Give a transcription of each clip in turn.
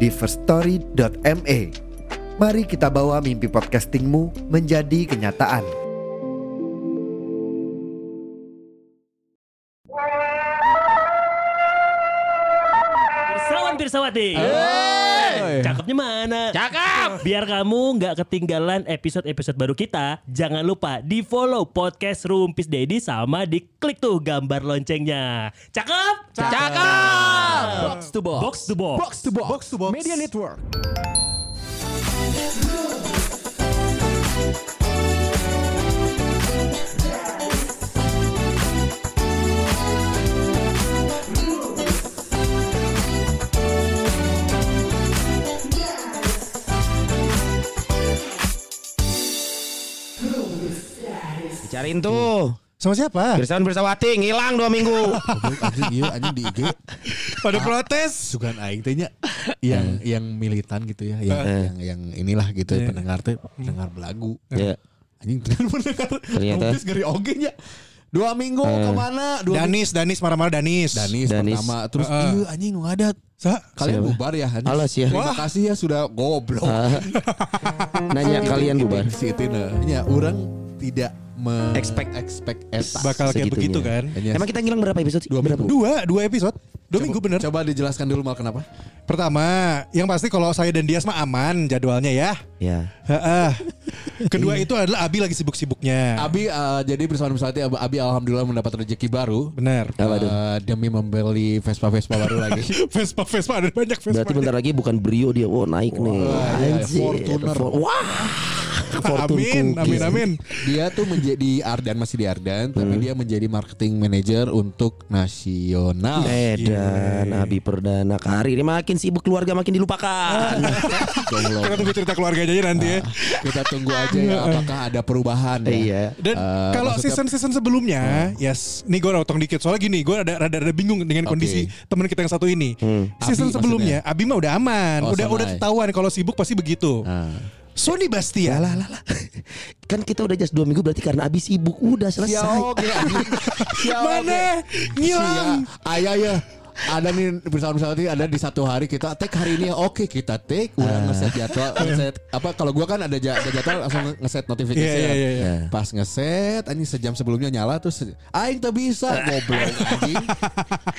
di firststory.me. Mari kita bawa mimpi podcastingmu menjadi kenyataan. Pirsawan Pirsawati Cakepnya mana? Cakep. Biar kamu nggak ketinggalan episode-episode baru kita Jangan lupa di follow podcast Rumpis Dedi Sama di klik tuh gambar loncengnya Cakep? Cakep. Box to box. Box to box, Box to box. Box to box. Media network. Cariin tuh. Sama siapa? Pirsawan Pirsawati ngilang dua minggu. Goblok, anjing iya anjing di IG Pada protes. sugan aing teh nya Hmm. yang yang militan gitu ya yang yang, yang inilah gitu Iya. ya, pendengar teh Hmm. pendengar belagu Iya. anjing ternyata pendengar Ternyata. Hmm. ternyata dari oge nya dua minggu kemana dua minggu. Danis, Danis marah-marah Danis. Danis, Danis. pertama terus Heeh. iya anjing nu ngadat Sa? kalian Siapa? bubar ya anjing Alas ya. terima kasih ya sudah goblok Nanya iya, kalian bubar. si itu nah. nya orang tidak me- Expect. expect eta. Bakal kayak Segitunya. begitu kan? Hanya Emang kita ngilang berapa episode sih? Dua berapa? minggu. Dua, dua episode. Dua minggu bener. coba dijelaskan dulu mal kenapa Pertama, yang pasti kalau saya dan Dias mah aman jadwalnya ya. Ya. Heeh. Kedua itu adalah Abi lagi sibuk-sibuknya. Abi eh, jadi bersama Nusati Abi, Abi alhamdulillah mendapat rezeki baru Bener. Apa tuh? Eh, demi membeli Vespa Vespa baru lagi. Vespa, Vespa ada banyak Vespa. Berarti bentar lagi bukan Brio dia. Wow naik nih. iya, Anjir. Fortuner. For- Wah. Amin, Fortune amin, cookies. amin. Dia tuh menjadi Ardan masih di Ardan, tapi Hmm. dia menjadi marketing manager untuk nasional. Iya. Edan Abi Perdana Kari ini makin sibuk keluarga makin dilupakan. Goblok. Kita tunggu cerita keluarganya aja nanti Ah. ya. Kita tunggu aja ya apakah ada perubahan. ya. Iya. Dan Eh, kalau maksudnya- season-season sebelumnya, yes, nih gue notong dikit soalnya gini, gue ada rada-rada bingung dengan Oke. kondisi teman kita yang satu ini. Season Abi sebelumnya, Abi mah udah aman, Oh, udah santai. udah ketahuan kalau sibuk pasti begitu. Ah. Sony Bastia, Alah, alah, alah. Kan kita udah just dua minggu berarti karena Abi sibuk udah Sia selesai. oge, anjing. Sia oge. mana ngilang? Sia, ayah ya. Ada nih bersama bersama ada di satu hari kita take hari ini ya oke kita take udah Ah. ngeset jadwal ngeset apa kalau gua kan ada, ja- ada jadwal langsung ngeset notifikasi Iya, iya, ya. iya, iya. pas ngeset anjing sejam sebelumnya nyala terus se- aing tak bisa goblok anjing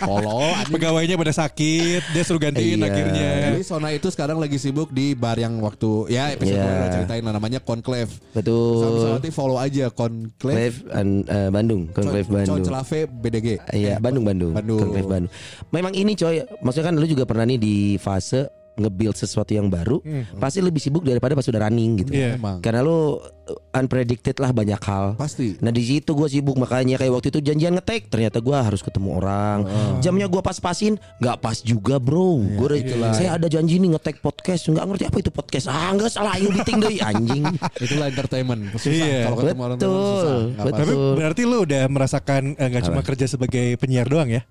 kolol anjing Pegawainya pada sakit, dia suruh gantiin Iya. akhirnya. jadi Sona itu sekarang lagi sibuk di bar yang waktu ya episode Iya. gua udah ceritain lah, namanya Conclave Betul. nanti follow aja Conclave Conclave an- eh, Bandung, Conclave Bandung. Conclave BDG Eh, Iya, Bandung Bandung. Bandung. Conclave Bandung. Memang ini coy, maksudnya kan lu juga pernah nih di fase nge-build sesuatu yang baru, pasti lebih sibuk daripada pas udah running Hmm. gitu. Iya. emang Karena lu uh, unpredicted lah banyak hal. pasti Nah di situ gue sibuk makanya kayak waktu itu janjian ngetek ternyata gue harus ketemu orang jamnya gue pas-pasin nggak pas juga Iya, bro Gua udah- saya ada janji nih ngetek podcast nggak ngerti apa itu podcast ah nggak salah ayo meeting deh anjing Itulah entertainment. Susah Iya. kalau ketemu orang Betul. teman susah. Nggak apa-apa. Tapi Betul. berarti lu udah merasakan eh, nggak cuma kerja sebagai penyiar doang ya?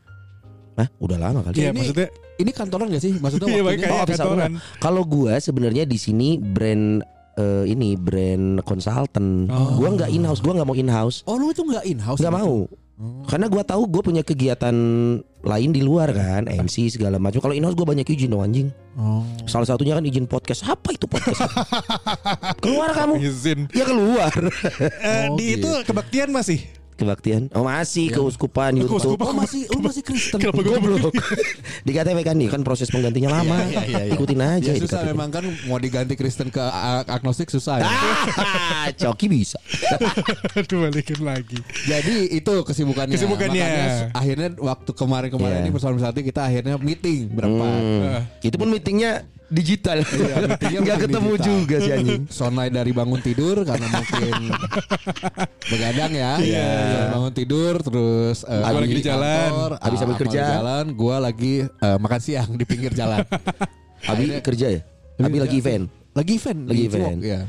Hah, udah lama kali Iya, ini- maksudnya Ini kantoran gak sih? Maksudnya Iya, waktunya makanya. Oh, habis satu kantoran. bulan. Kalau gua sebenarnya di sini brand eh, ini brand konsultan. Gua nggak in house, gua nggak mau in house. Oh, lu tuh gak in house. Nggak mau. Oh. Karena gua tahu gua punya kegiatan lain di luar kan, MC segala macam. Kalau in house gua banyak izin dong anjing. Oh. Salah satunya kan izin podcast. Apa itu podcast? keluar kamu. izin. Ya keluar. Eh, Oh, di itu gitu. kebaktian masih. Kebaktian. Oh Ya. masih keuskupan YouTube. Keuskupan. Oh, masih lu masih Kristen. Kenapa gua Goblok. di KTP kan nih kan proses penggantinya lama. Iya, iya, iya. Ikutin Ya aja itu susah KTP. memang kan mau diganti Kristen ke a- agnostik susah ya. Ah, Coki bisa. Aduh balikin lagi. Jadi itu kesibukannya. Kesibukannya. Makanya su- akhirnya waktu kemarin-kemarin Iya. ini bersama satu kita akhirnya meeting berempat. Iya, Hmm. Itu pun meetingnya digital. meetingnya Nggak meeting ketemu digital. juga si anjing. Sonai dari bangun tidur karena mungkin begadang ya. Sonai Bangun tidur terus eh, Gua Abi lagi di jalan. kantor, Abi sambil Akmal di kerja. jalan, gua lagi eh, makan siang di pinggir jalan. Abi Akhirnya- kerja ya? Abi lagi event. lagi event Lagi di Cimok, event. ya.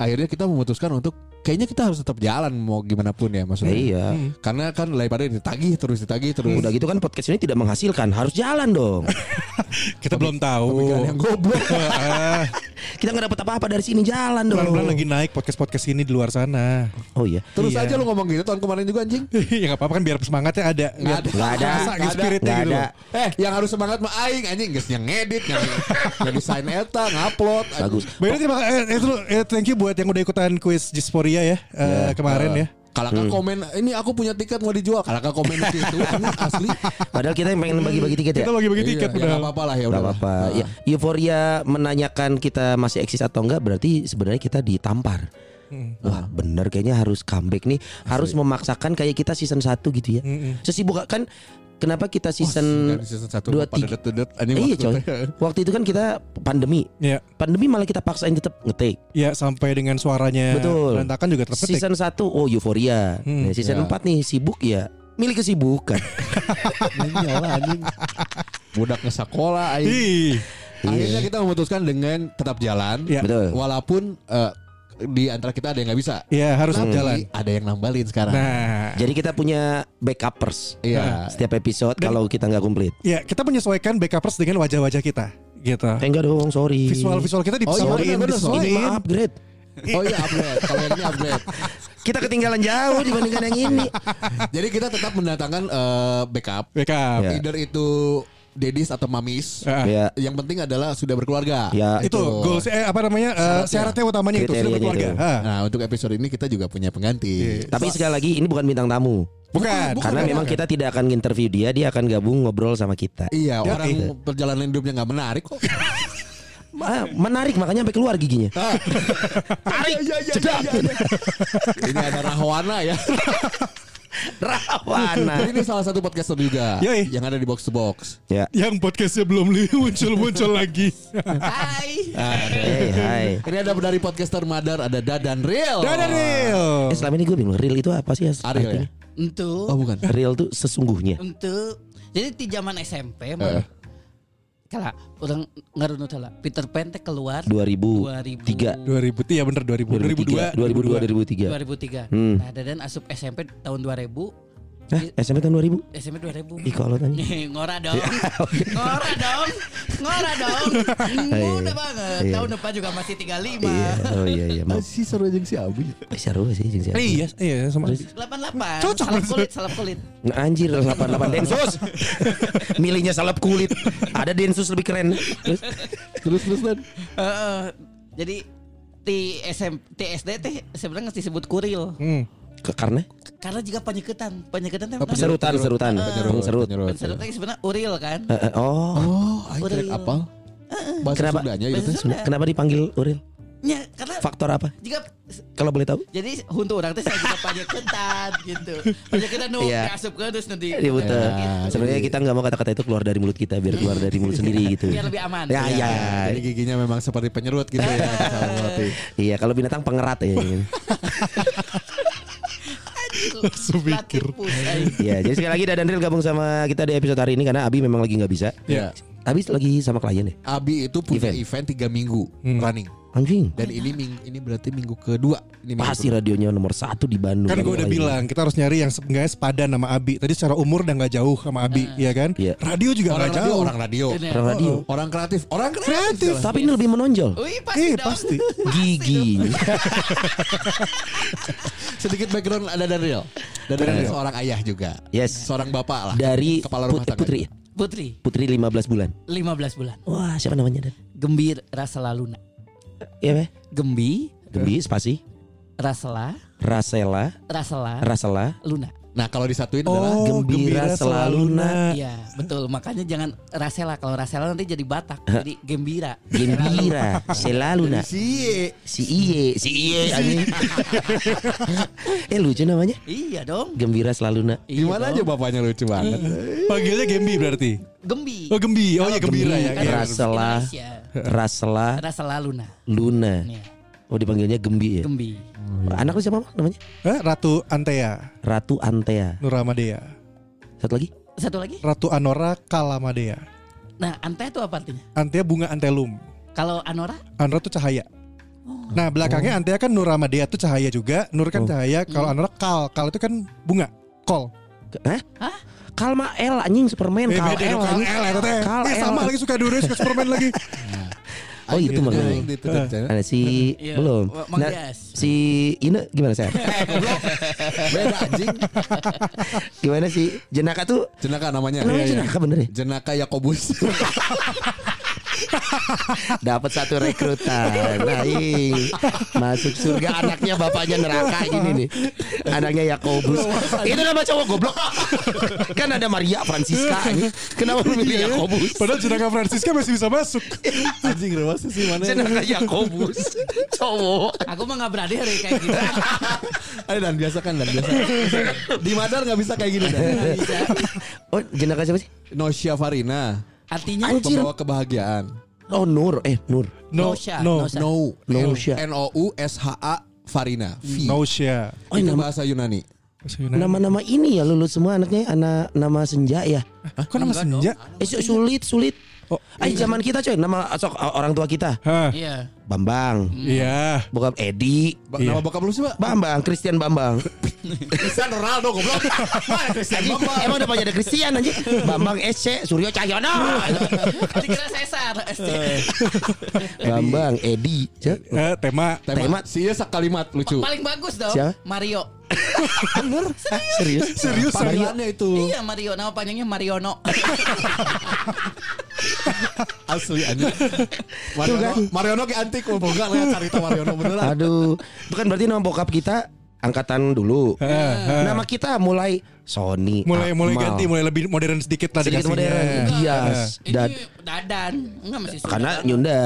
akhirnya kita memutuskan untuk kayaknya kita harus tetap jalan mau gimana pun ya maksudnya Ya, iya. karena kan daripada ditagih terus ditagih terus Udah gitu kan podcast ini tidak menghasilkan, harus jalan dong. Kita belum tahu. Tapi jangan yang goblok Ah, Kita nggak dapat apa-apa dari sini, jalan dong. Pelan-pelan lagi naik podcast-podcast ini di luar sana. Oh iya. terus Iya. aja lu ngomong gitu tahun kemarin juga anjing ya nggak apa-apa kan biar semangatnya ada. Nggak ada. Nggak ada. Rasa gitu, Nggak ada. spiritnya Nggak gitu. ada. loh. eh yang harus semangat mah aing anjing guys yang ngedit yang yang desain eta ngupload anjing. Bagus. Baiklah, terima kasih. Eh, eh, terus, eh, thank you buat yang udah ikutan kuis Jisporia ya eh, Iya. kemarin ya. Kalaka Hmm. komen ini aku punya tiket mau dijual. Kalaka komen gitu anjing, asli. Padahal kita yang pengen bagi-bagi tiket ya. Kita bagi-bagi Iya, tiket ya udah. nggak apa-apa lah ya Gak udah. apa-apa. Ya, euforia menanyakan kita masih eksis atau enggak berarti sebenarnya kita ditampar. Hmm. Wah bener kayaknya harus comeback nih Harus memaksakan kayak kita season 1 gitu ya Hmm. Sesibuk kan Kenapa kita Oh, season dari iya, season satu dua, pada tiga. dedet-dedet, anjing Iya coy waktu itu. Waktu itu kan kita pandemi Iya. Pandemi malah kita paksain tetap ngetik Ya sampai dengan suaranya Betul. berantakan juga terpetik. Season 1 oh euforia Hmm. Nah, Season Ya. 4 nih sibuk ya Milih kesibukan Iyalah Iya anjing. Budak ke sekolah Iya. aing. Ih, Akhirnya kita memutuskan dengan tetap jalan. Iya. Betul Walaupun eh, di antara kita ada yang nggak bisa. ya harus Tapi jalan. Ada yang nambalin sekarang. Nah, Jadi kita punya backupers Iya. Setiap episode Dan- kalau kita nggak komplit ya kita menyesuaikan backupers dengan wajah-wajah kita, gitu. Eh, Enggak dong sorry Visual-visual kita Oh, iya, disamain, bener-bener, Ini disesuaiin. mah upgrade Oh iya upgrade. Kalau yang ini upgrade. Kita ketinggalan jauh dibandingkan yang ini Jadi kita tetap mendatangkan eh, backup. Backup. Ya. Either itu Dedis atau Mamis. Ah, Ya Yang penting adalah sudah berkeluarga. Ya. itu goals eh apa namanya eh, Syaratnya. syaratnya utamanya itu sudah Kriterianya berkeluarga. itu. Ah, Nah untuk episode ini kita juga punya pengganti. Tapi sekali lagi ini bukan bintang tamu bukan. Iya. Bukan, Karena bukan. memang kita tidak akan interview dia Dia akan gabung ngobrol sama kita Iya Ya, orang iya. perjalanan hidupnya nggak menarik kok. Ah, Menarik makanya sampai keluar giginya Ah. Tarik, cedak. iya, Ini ada Rahwana ya. Rawana Jadi ini salah satu podcaster juga Yoi. yang ada di box to box. Ya Yang podcastnya belum li- muncul-muncul lagi. Hey, hai Ini ada dari podcaster Madar, ada Dadan Real. Dadah real. Eh selama ini gue bingung real itu apa sih Ariel ya? artinya? Untuk Oh bukan. Real tuh sesungguhnya. untuk jadi di zaman SMP mah Eh. kala orang ngarunut lah Peter Pan teh keluar 2003 2000 ya bener 2000 2003 2002 2003. 2003. Hmm. Nah, Dadan asup SMP tahun 2000. Hah, SMP tahun 2000? SMP 2000. Ih Ya, kalau Iya. tanya. Ngora dong. Ngora dong. Ngora dong. Muda banget. Iya. Tahun depan juga masih 35. Iya, oh iya iya. Mau Eh, Si seru aja si ya. Abi. seru sih jeung si 2002. Abi. Iya, iya sama. 88. Cocok salap banget. kulit, salap kulit. Nah, anjir 88 Densus. Milihnya salep kulit. Ada Densus lebih keren. Terus Terus terus dan. Heeh. jadi di SMP, di SD teh sebenarnya nggak disebut kuril. Hmm. ke- karena Karena juga penyeketan, penyeketan Oh, teh serutan serutan serut. Penserut teh sebenarnya uril kan. Oh, Oh, aing Udah. keren apal. Bahasa Kenapa? Sundanya gitu. Bahasa itu teh. Sunda. kenapa dipanggil Uril? Ya, karena Faktor apa? jika Kalau boleh tahu? jadi untuk orang teh saya juga panyeketan gitu. Panyeketan nu Iya. asup ke terus nanti. Iya betul. gitu. Ya, Sebenarnya kita nggak mau kata-kata itu keluar dari mulut kita biar keluar dari mulut sendiri gitu. Biar lebih aman. Ya ya. Jadi giginya memang seperti penyerut gitu ya. Salah mengerti. Iya kalau binatang pengerat ya. Langsung mikir. Platypus, eh. Iya jadi sekali lagi Dadan Ril gabung sama kita di episode hari ini karena Abi memang lagi nggak bisa. Iya. Ya. Abi lagi sama klien ya. Abi itu punya Iya. Event. event, tiga minggu Hmm. running Anjing. dan ini ming- ini berarti minggu kedua ini minggu Pasti radionya nomor satu di Bandung. Kan gue udah Klien. bilang kita harus nyari yang enggak sepadan sama Abi. Tadi secara umur udah nggak jauh sama Abi, ya kan? Iya. Radio kedua. juga orang nggak radio jauh. orang radio Bener. Orang radio. orang kreatif orang kreatif Kreatif. Tapi ini lebih menonjol. Wih pasti Eh, dong. pasti. Gigi. sedikit background ada dari real dan Real. dari seorang ayah juga Yes. seorang bapak lah Dari kepala rumah Put- tangga Putri. ya? Putri Putri 15 bulan. 15 bulan. Wah, siapa namanya Dan? Gembir Rasela Luna. Iya, Beh. Gembi Gembi, spasi. Rasela Rasela, Rasela Rasela. Luna. nah kalau disatuin adalah Oh, Gembira selalu, Nak. Iya, betul. Makanya jangan Rasela. Kalau Rasela nanti jadi Batak, jadi gembira. Gembira, selalu nak. Iya. si Si Iye, si Iye anjing. eh lucu namanya. Iya dong. Gembira selalu nak. Iya gimana aja dong. bapaknya lucu banget Iya. Panggilnya Gembi berarti. Gembi. Oh, Gembi. Oh, iya Gembira Gembi, Kan ya. Iya. Rasela, Indonesia. Rasela, Rasela Luna. Luna. Iya, Oh dipanggilnya Gembi ya. Gembi. Anak lu siapa Mak, namanya? Eh, Ratu Antea Ratu Antea. Nuramadea. Satu lagi? Satu lagi? Ratu Anora Kalamadea. Nah, ante itu apa artinya? Antea bunga antelum. Kalau Anora? Anora tuh cahaya. Nah Oh. belakangnya Antea kan Nur Ramadea tuh cahaya juga. Nur kan Hmm. cahaya. Kalau Anora kal, kal itu kan bunga. Kol. Hah? Kalma L anjing Superman Eh, Kal beda L dong, Kal anjing. L, ya, teteh. Kal Eh, L. sama lagi suka Dure, suka Superman lagi. Eh. Oh itu gitu makanya. Ada si Iya, belum. Wa- Mang Nah, Dias. si Ine gimana sih? Beda anjing. gimana sih? Jenaka tuh Jenaka namanya. Iya, namanya iya. Jenaka bener ya? Jenaka Yakobus. Dapat satu rekrutan. Aing masuk surga anaknya bapaknya neraka ini nih. Anaknya Yakobus. itu nama cowok goblok. kan ada Maria Francisca ini. Iya, Kenapa memilih Yakobus? Padahal jenaka Francisca masih bisa masuk. anjing rewasa sih mana. ya? Jenaka Yakobus. cowok. Aku mah nggak berani hari kayak gitu. Ayo dan biasa kan dan biasa. Di Madar nggak bisa kayak gini. Dan. Iya, Oh, jenaka siapa sih? Nosia Farina. Artinya Anjir. Pembawa kebahagiaan. Oh, Nur. Eh, Nur. No, Nosha, no, Nosha. No. Nosia. N O U S H A Farina. V. no, Shia. Oh, Itu nama- bahasa Yunani. Nah. Nama-nama ini ya lulus semua anaknya anak nama senja ya. Hah, kok nama senja? Eh, su- sulit, sulit. Oh, Ay, zaman kita coy, nama sok orang tua kita. Hah, Iya. Bambang, iya. bokap Edi, Ba- Iya. Nama bokap lu sih, Pak? Bambang, Christian Bambang. Cristiano Ronaldo goblok. Ah, Mana Cristiano Anjing, Bambang? emang udah banyak ada Christian anjing. Bambang SC, Suryo Cahyono. Dikira sesar. Bambang, Edi. Siapa? Eh, tema Tema sih ya kalimat lucu. Paling bagus dong. Siapa? Mario. Bener? Ah, Ah, Serius? serius serius. Panggilannya itu Iya Mario. Nama panjangnya Mariono. asli anjing. Mariono, Mariono kayak antik, oh, enggak lah cerita Mariono beneran. Aduh, itu kan berarti nama bokap kita angkatan dulu. Nama kita mulai Sony. Ah, mulai mulai Akmal. ganti mulai Ah, lebih modern sedikit lah sedikit dikasihnya. Iya. modern. Iya. Dias Ini dan Dadan. Enggak masih sudah. karena Nyunda.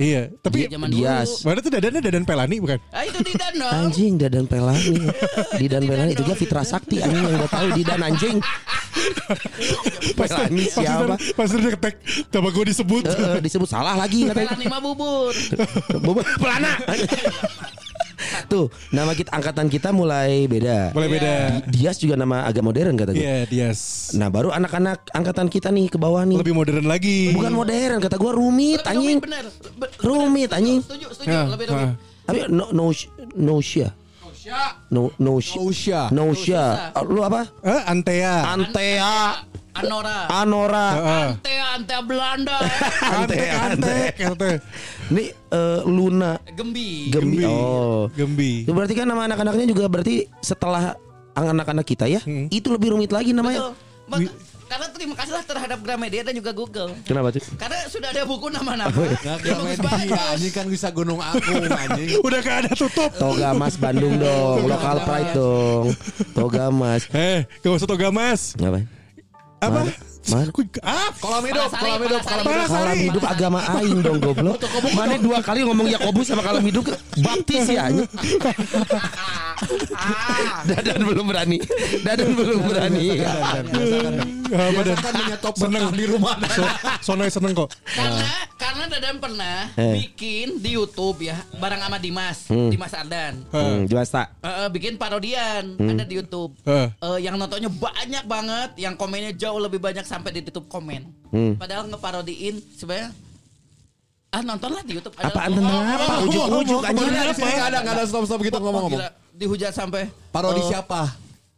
Iya, tapi Iya, zaman Dias. dulu. mana tuh dadannya dadan pelani bukan? Ah itu Didan dong. Anjing Dadan Pelani Didan Pelani itu dong, juga Fitra Sakti Anjing yang gak tau Didan anjing Pelani siapa Pastor dia ketek, coba gue disebut. Eh, eh, Disebut salah lagi katanya Pelani mah bubur. Bobo- Pelana Tuh Nama kita Angkatan kita mulai beda Mulai beda. Dias juga nama agak modern kata gue Iya, Dias. Nah baru anak-anak Angkatan kita nih ke bawah nih Lebih modern lagi. Bukan modern kata gue rumit Lebih anjing rumit, bener. Be- Rumit anjing Setuju, setuju. Ya, Lebih ah. rumit. Tapi no no no sia. No no sia. Nosia. No sia. Lu apa? Eh, Antea. Antea Ah. Anora. Anora. Heeh. Antea, Antea Belanda. Antek, antek, antek. Ini eh, Luna Gembi. Gembi. Oh. Gembi. Itu berarti kan nama anak-anaknya juga berarti setelah anak-anak kita ya. Itu lebih rumit lagi namanya. Betul. Maka, karena terima kasihlah terhadap Gramedia dan juga Google. Kenapa Oh, iya. tuh? Karena sudah ada buku nama-nama. Nah, yang bagus media banget. anjing kan bisa gunung aku anjing. Udah gak ada tutup. Toga Mas Bandung dong, lokal pride dong. Toga Mas. Eh, gak usah toga mas. Ngapain? Apa? Mana? Aku- Ah, Kolam hidup, Palasari, kolam hidup, kolam Palasari. hidup. Kalam Palasari. hidup agama aing dong goblok. Mana dua kali ngomong Yakobus sama kalam hidup baptis ya. anjing. Dadan belum berani. Ah. Dadan belum berani. Ah, apa dan? Biasakan menyetop Seneng. bekam di rumah. Dan. So, Sonoy seneng kok. Karena karena Dadan pernah Eh. bikin di YouTube ya bareng sama Dimas, Dimas Ardan. Hmm, jelas tak? Eh, eh, bikin parodian Hmm. ada di YouTube. Eh. Eh, yang nontonnya banyak banget, yang komennya jauh lebih banyak sampai ditutup komen. Hmm. Padahal ngeparodiin sebenarnya ah nontonlah di YouTube. Ada- Apaan tentang Oh, apa? oh, Ujuk-ujuk Ngomong, anjing. ngomong, Sini nggak ada nggak ada stop stop gitu oh, ngomong-ngomong. gila. dihujat sampai Parodi Oh. eh, siapa?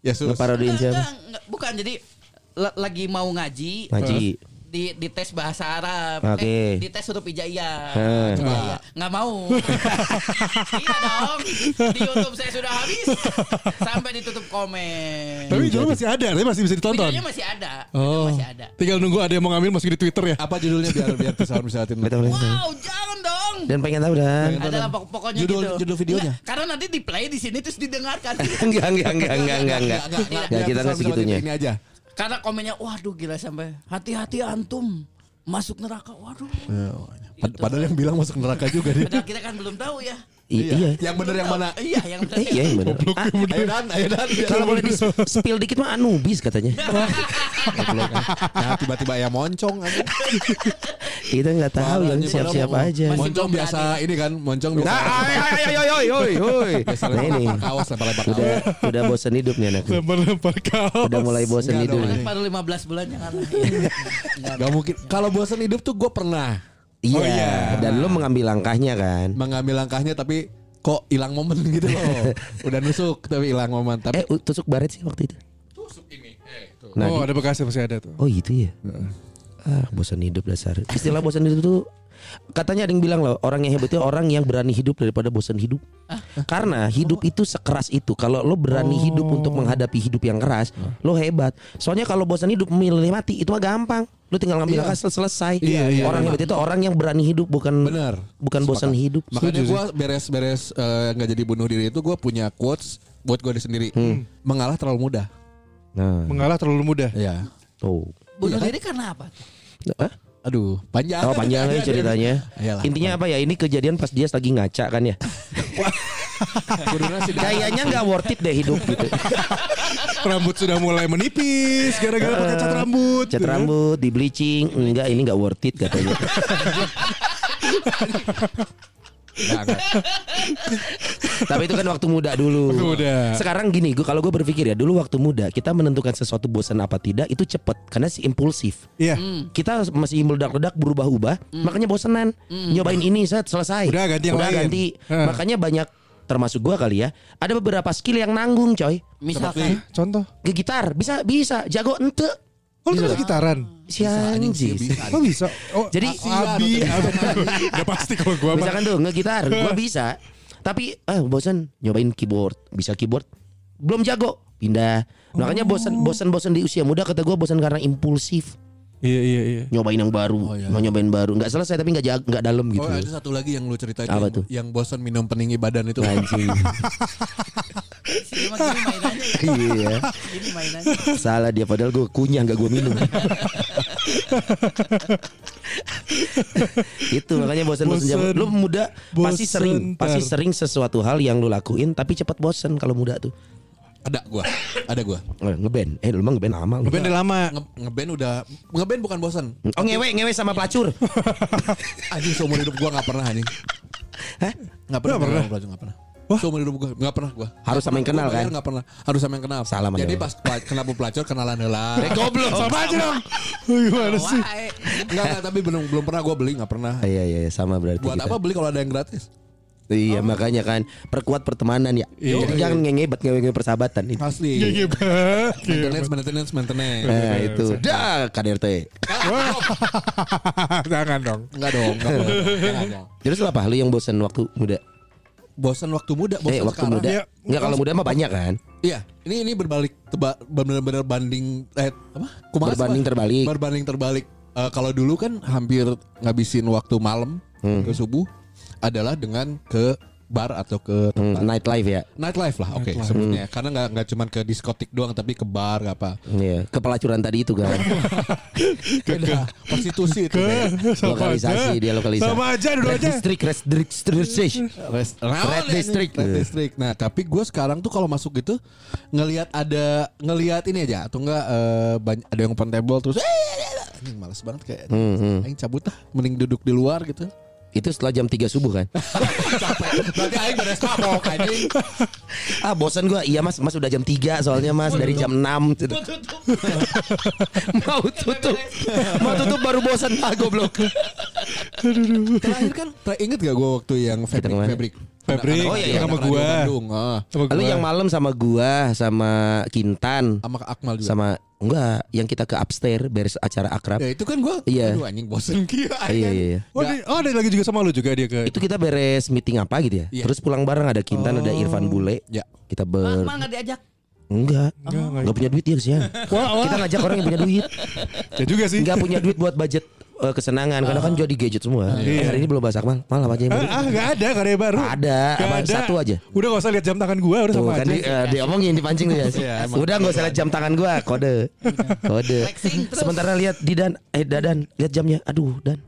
Ya sudah. Ngeparodiin Enggak, siapa? enggak, enggak. bukan jadi la- lagi mau ngaji, Ngaji. terus di di tes bahasa Arab, Eh, Oke. di tes huruf hijaiyah. Heh. Coba iya. nggak mau. iya dong, di YouTube saya sudah habis sampai ditutup komen. Tapi dulu masih ada, tapi masih bisa ditonton. Videonya Iya, masih ada, Oh. videonya masih ada. Tinggal nunggu ada yang mau ngambil masukin di Twitter ya. Apa judulnya biar biar bisa bisa hatiin. Betul, betul. Wow, jangan dong. Dan pengen tahu dan. Adalah pok- pokoknya Judul- gitu. judul videonya? Nggak, karena nanti di play di sini terus didengarkan. Enggak, enggak, enggak, enggak, enggak, enggak. Enggak biar bisa kita enggak hatiin segitunya. Ini aja. karena komennya, waduh gila sampai hati-hati antum masuk neraka, waduh. Iya. Pad- Padahal yang bilang masuk neraka juga dia. Padahal kita kan belum tahu ya. I- Iya. Yang bener yang mana? Iya, yang benar. Eh, Iya, yang bener. Ah, Ayo dan, ayo dan. Kalau boleh di spill dikit mah Anubis katanya. Nah, tiba-tiba ya moncong aja. Kita nggak tahu kan siap-siap aja. Masih Moncong belum biasa ini kan, moncong biasa. Nah, ayo ayo ayo ayo ayo. biasa Nah ini lempar kaos lempar-lempar udah kaos. udah bosan hidup nih anak. Lempar-lempar kaos. Udah mulai bosan Enggak hidup. dong, nih. Baru 15 bulan jangan lah. Gak mungkin. Kalau bosan hidup tuh gue pernah Oh, Iya. iya. Dan lu mengambil langkahnya kan. mengambil langkahnya tapi kok hilang momen gitu loh. Udah nusuk tapi hilang momen. Tapi eh, Eh u- tusuk baret sih waktu itu. Tusuk ini. Nah, Oh di- ada bekasnya masih ada tuh. oh, gitu ya. Ah, bosan hidup dasar. Istilah bosan hidup tuh katanya ada yang bilang loh orang yang hebat itu orang yang berani hidup daripada bosan hidup. Karena hidup itu sekeras itu. Kalau lo berani hidup Oh. untuk menghadapi hidup yang keras, lo hebat. Soalnya kalau bosan hidup milih mati itu mah gampang. Lo tinggal ngambil langkah sel- selesai. Iya, iya, orang hebat itu orang yang berani hidup bukan Bener. bukan bosan Sepakat. hidup. Makanya gue beres-beres eh, nggak jadi bunuh diri itu gue punya quotes buat gue sendiri. Mengalah terlalu mudah. Nah, Mengalah terlalu mudah. Iya. tuh. Bunuh diri karena apa? Hah? Aduh, panjang. Oh panjang ya ceritanya. Iyalah. Intinya apa ya? Ini kejadian pas dia lagi ngaca kan ya. Kudunya sih dah. Kayaknya nggak worth it deh hidup gitu. Rambut sudah mulai menipis gara-gara pakai cat rambut. Cat rambut, di bleaching, enggak ini nggak worth it katanya. Nggak, nggak. Tapi itu kan waktu muda dulu. Waktu muda. Sekarang gini, gua kalau gue berpikir ya dulu waktu muda kita menentukan sesuatu bosan apa tidak itu cepet karena si impulsif. Iya. Hmm. Kita masih meledak-ledak berubah-ubah, Hmm. makanya bosenan. Nyobain ini set selesai. Udah, ganti yang Udah lain. ganti. Heeh. Makanya banyak termasuk gua kali ya. Ada beberapa skill yang nanggung, coy. Misalkan Contoh. Ke gitar bisa bisa jago ente. Oh Iya. lu ternyata gitaran. Si anjing. Oh bisa. Oh, Jadi- a- abi, iya, abi. udah pasti kalau gua mah. Misalkan tuh ngegitar, gua bisa. Tapi ah bosan nyobain keyboard, bisa keyboard. Belum jago, pindah. Makanya Oh. bosan bosan bosan di usia muda kata gua bosan karena impulsif. Iya iya iya. iya. Nyobain yang baru, mau nyobain baru, nggak selesai tapi nggak jag- nggak dalam gitu. Oh ada satu lagi yang lu ceritain Apa yang, tuh? yang bosan minum peninggi badan itu Anjing. sih cuma gini mainannya ya. iya. Gini mainannya. Salah dia padahal gue kunyah nggak gue minum. itu makanya bosan-bosan zaman. Bosen. Lu muda Bosen, pasti sering pasti Tar. sering sesuatu hal yang lu lakuin tapi cepat bosan kalau muda tuh. ada gua ada gua Eh, Ngeband. Eh lu mah ngeband lama lu. Band lama. nge ngeband udah ngeband bukan bosan Oh ngewe ngewe sama pelacur. anjing seumur hidup gua nggak pernah anjing Hah? nggak pernah nggak pernah nggak pernah seumur hidup gua nggak pernah gua Harus sama yang kenal, Gua bayar kan? nggak pernah harus sama yang kenal Salah sama jadi dia. pas pela- kenapa pelacur kenalan lah Eh, Goblok. Sama aja dong. Oh, Gimana sih? Wae. nggak nggak tapi belum belum pernah gua beli nggak pernah Ah, Iya iya iya, sama berarti. buat kita. apa beli kalau ada yang gratis Iya makanya kan perkuat pertemanan ya. Jadi jangan ngewe ngewe ngewe persahabatan itu. asli Iya, Pak. maintenance maintenance maintenance Nah, itu. Dah KDRT. Jangan dong. nggak dong nggak boleh dong, nggak dong. Terus lu apa? Lu yang bosan waktu muda? bosan waktu muda bosan eh waktu sekarang. muda. Ya, Enggak kalau muda mah banyak kan? Iya, ini ini berbalik teba, benar-benar banding eh apa? Kumaha sih, Berbanding Pak? terbalik. Berbanding terbalik. Eh, kalau dulu kan hampir ngabisin waktu malam Hmm. ke subuh adalah dengan ke bar atau ke Hmm, nightlife ya. nightlife lah, oke sebutnya. Hmm. Karena nggak nggak cuman ke diskotik doang, tapi ke bar nggak apa. Iya, kepelacuran tadi itu kan. Beda, prostitusi itu. Sama aja. lokalisasi dia lokalisasi. Nah, Sama aja dulu Red aja. District, Red District, Red District. Red, Red District. ya Red District. Nah, tapi gue sekarang tuh kalau masuk gitu ngelihat ada ngelihat ini aja atau enggak eh, bany- ada yang open table terus eh eh, eh, anjing malas banget kayak Hmm, aing cabut ah mending duduk di luar gitu. Itu setelah jam 3 subuh kan. Capek. Berarti aing beres mabok anjing. ah, bosan gua. Iya, Mas. Mas udah jam 3 soalnya, Mas, dari jam 6. Gua tutup. Mau tutup. Mau tutup baru bosan ah goblok. Terakhir kan ter- inget gak gue waktu yang fabric kemana? fabric. Pabrik Oh, iya, iya. sama Anak-anak gua. radio Bandung, ah. Sama Lu gua. yang malam sama gua, sama Kintan, sama ke Akmal juga. sama enggak yang kita ke upstairs beres acara akrab. Ya itu kan gue Iya. aduh anjing bosen kia. Iya, iya, iya. Oh, ada- oh, ada lagi juga sama lu juga dia ke. Itu kita beres meeting apa gitu ya. Iya. Terus pulang bareng ada Kintan, ada Irfan Bule. Ya. Kita Mak, ber Mak nggak diajak. Eh, enggak. Enggak, enggak. Enggak punya duit ya kesian. Kita ngajak orang yang punya duit. Ya juga sih. Enggak punya duit buat budget eh, kesenangan karena kan jadi gadget semua. Eh, Hari ini belum bahas Akmal. Malam aja yang baru. iya. Ah, enggak ada, enggak ada yang baru. Ada, Nggak apa, ada. satu aja. Udah gak usah lihat jam tangan gua, udah Tuh sama Iya, kan aja. di, eh, diomongin dipancing tuh ya. Udah enggak usah lihat jam tangan gua, Iya. kode. Kode. Flexing terus. Sementara lihat Didan eh Dadan, lihat jamnya. Aduh, Dan.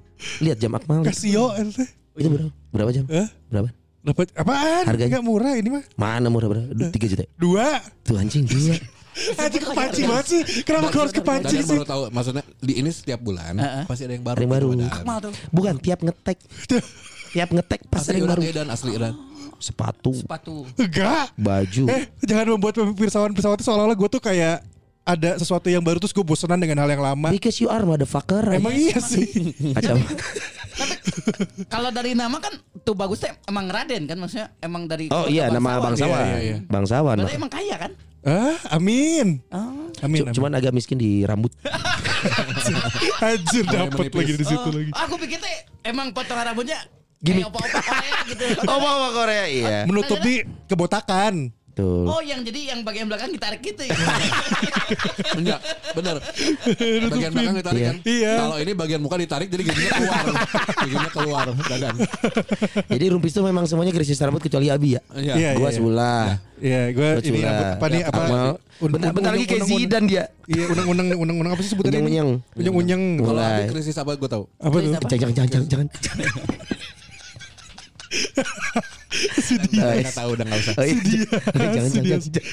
Lihat jam Akmal. Casio ente. Itu berapa? Berapa jam? Hah? Berapa? Dapat apaan? Harganya? Enggak murah ini mah. Mana murah berapa? Duh, 3 juta. Dua. Tuh anjing gila. Anjing ya? kepancing banget sih. Kenapa gue harus kepancing Kalian sih? baru tahu maksudnya di ini setiap bulan pasti ada yang baru. gitu, Ada yang baru. godaan. Akmal tuh. Bukan tiap ngetek. tiap ngetek pasti Asli ada yang Iran baru. Edan, asli Iran. Sepatu, Sepatu. Enggak. baju. Eh, jangan membuat pesawat-pesawat itu seolah-olah gue tuh kayak ada sesuatu yang baru terus gue bosenan dengan hal yang lama. Because you are motherfucker. Emang iya sih. Kacamata. Kalau dari nama kan tuh bagusnya emang Raden kan maksudnya emang dari Oh iya nama Bang Sawan. Sawan. Iya, iya, iya. Bang Sawan. Berarti emang kaya kan? Ah, amin. Amin. Cu- amin. Cuman agak miskin di rambut. Anjir dapat gitu menipis. lagi ya? di situ Oh, lagi. Aku pikir teh emang potongan rambutnya Gimik. kayak opa-opa Korea gitu. Oma Korea iya. Menutupi kebotakan. Betul. Oh yang jadi yang bagian belakang ditarik gitu ya. Enggak, bener. Bagian belakang ditarik kan? Iya. Kalau ini bagian muka ditarik jadi giginya keluar. giginya keluar dadan. Jadi rumpis itu memang semuanya krisis rambut kecuali Abi ya. Iya. Iya. Gua sebelah. Iya, gue Gua ini sebelah. apa, apa nih apa? Oh, Akmal. un- Bentar, bentar lagi kayak uneng-uneng. Zidane dia. Iya, uneng-uneng uneng-uneng apa sih sebutannya? Unyeng-unyeng. Unyeng-unyeng. Kalau Mulai. Abi krisis apa gue tahu. Apa tuh? Jangan jangan jangan jangan. Enggak tahu udah enggak usah. Oh, iya. Jangan jangan jangan. Gak,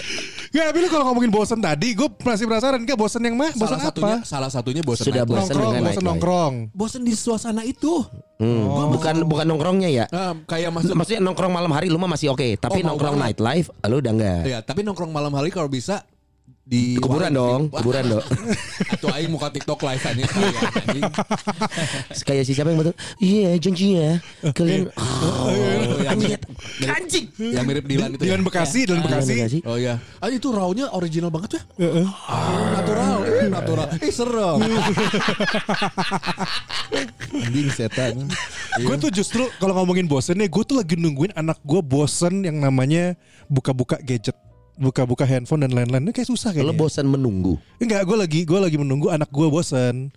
Ya, tapi lu kalau ngomongin bosen tadi, gue masih penasaran. Gak bosen yang mah? Bosen Salah satunya, apa? salah satunya bosan. Sudah bosan. Nongkrong, dengan bosen naik-naik. nongkrong. Bosan di suasana itu. Hmm. Oh. Bukan bukan nongkrongnya ya. Nah, kayak maksud Maksudnya nongkrong malam hari lu mah masih oke, Oh, tapi mau nongkrong banget. nightlife lu udah enggak. Iya, Ya, tapi nongkrong malam hari kalau bisa di Kuburan Wah, dong, di- kuburan dong. Atau aing muka TikTok live anjing. sekalian, anjing. Kayak si siapa yang betul? Iya, janji ya. Kalian Eh, Ah, Oh, yang anjing. mirip, Anjing. yang mirip Dilan itu. Dilan ya? Bekasi, Dilan Dilan Bekasi. Bekasi. Oh iya. Ah itu rawnya original banget ya. Ah, natural, eh, natural. Eh serem. Anjing setan. Gue tuh justru kalau ngomongin bosen nih, gue tuh lagi nungguin anak gue bosen yang namanya buka-buka gadget, buka-buka handphone dan lain-lain. Ini kayak susah Lu kayaknya. bosan menunggu. Enggak, gue lagi gue lagi menunggu anak gue bosen.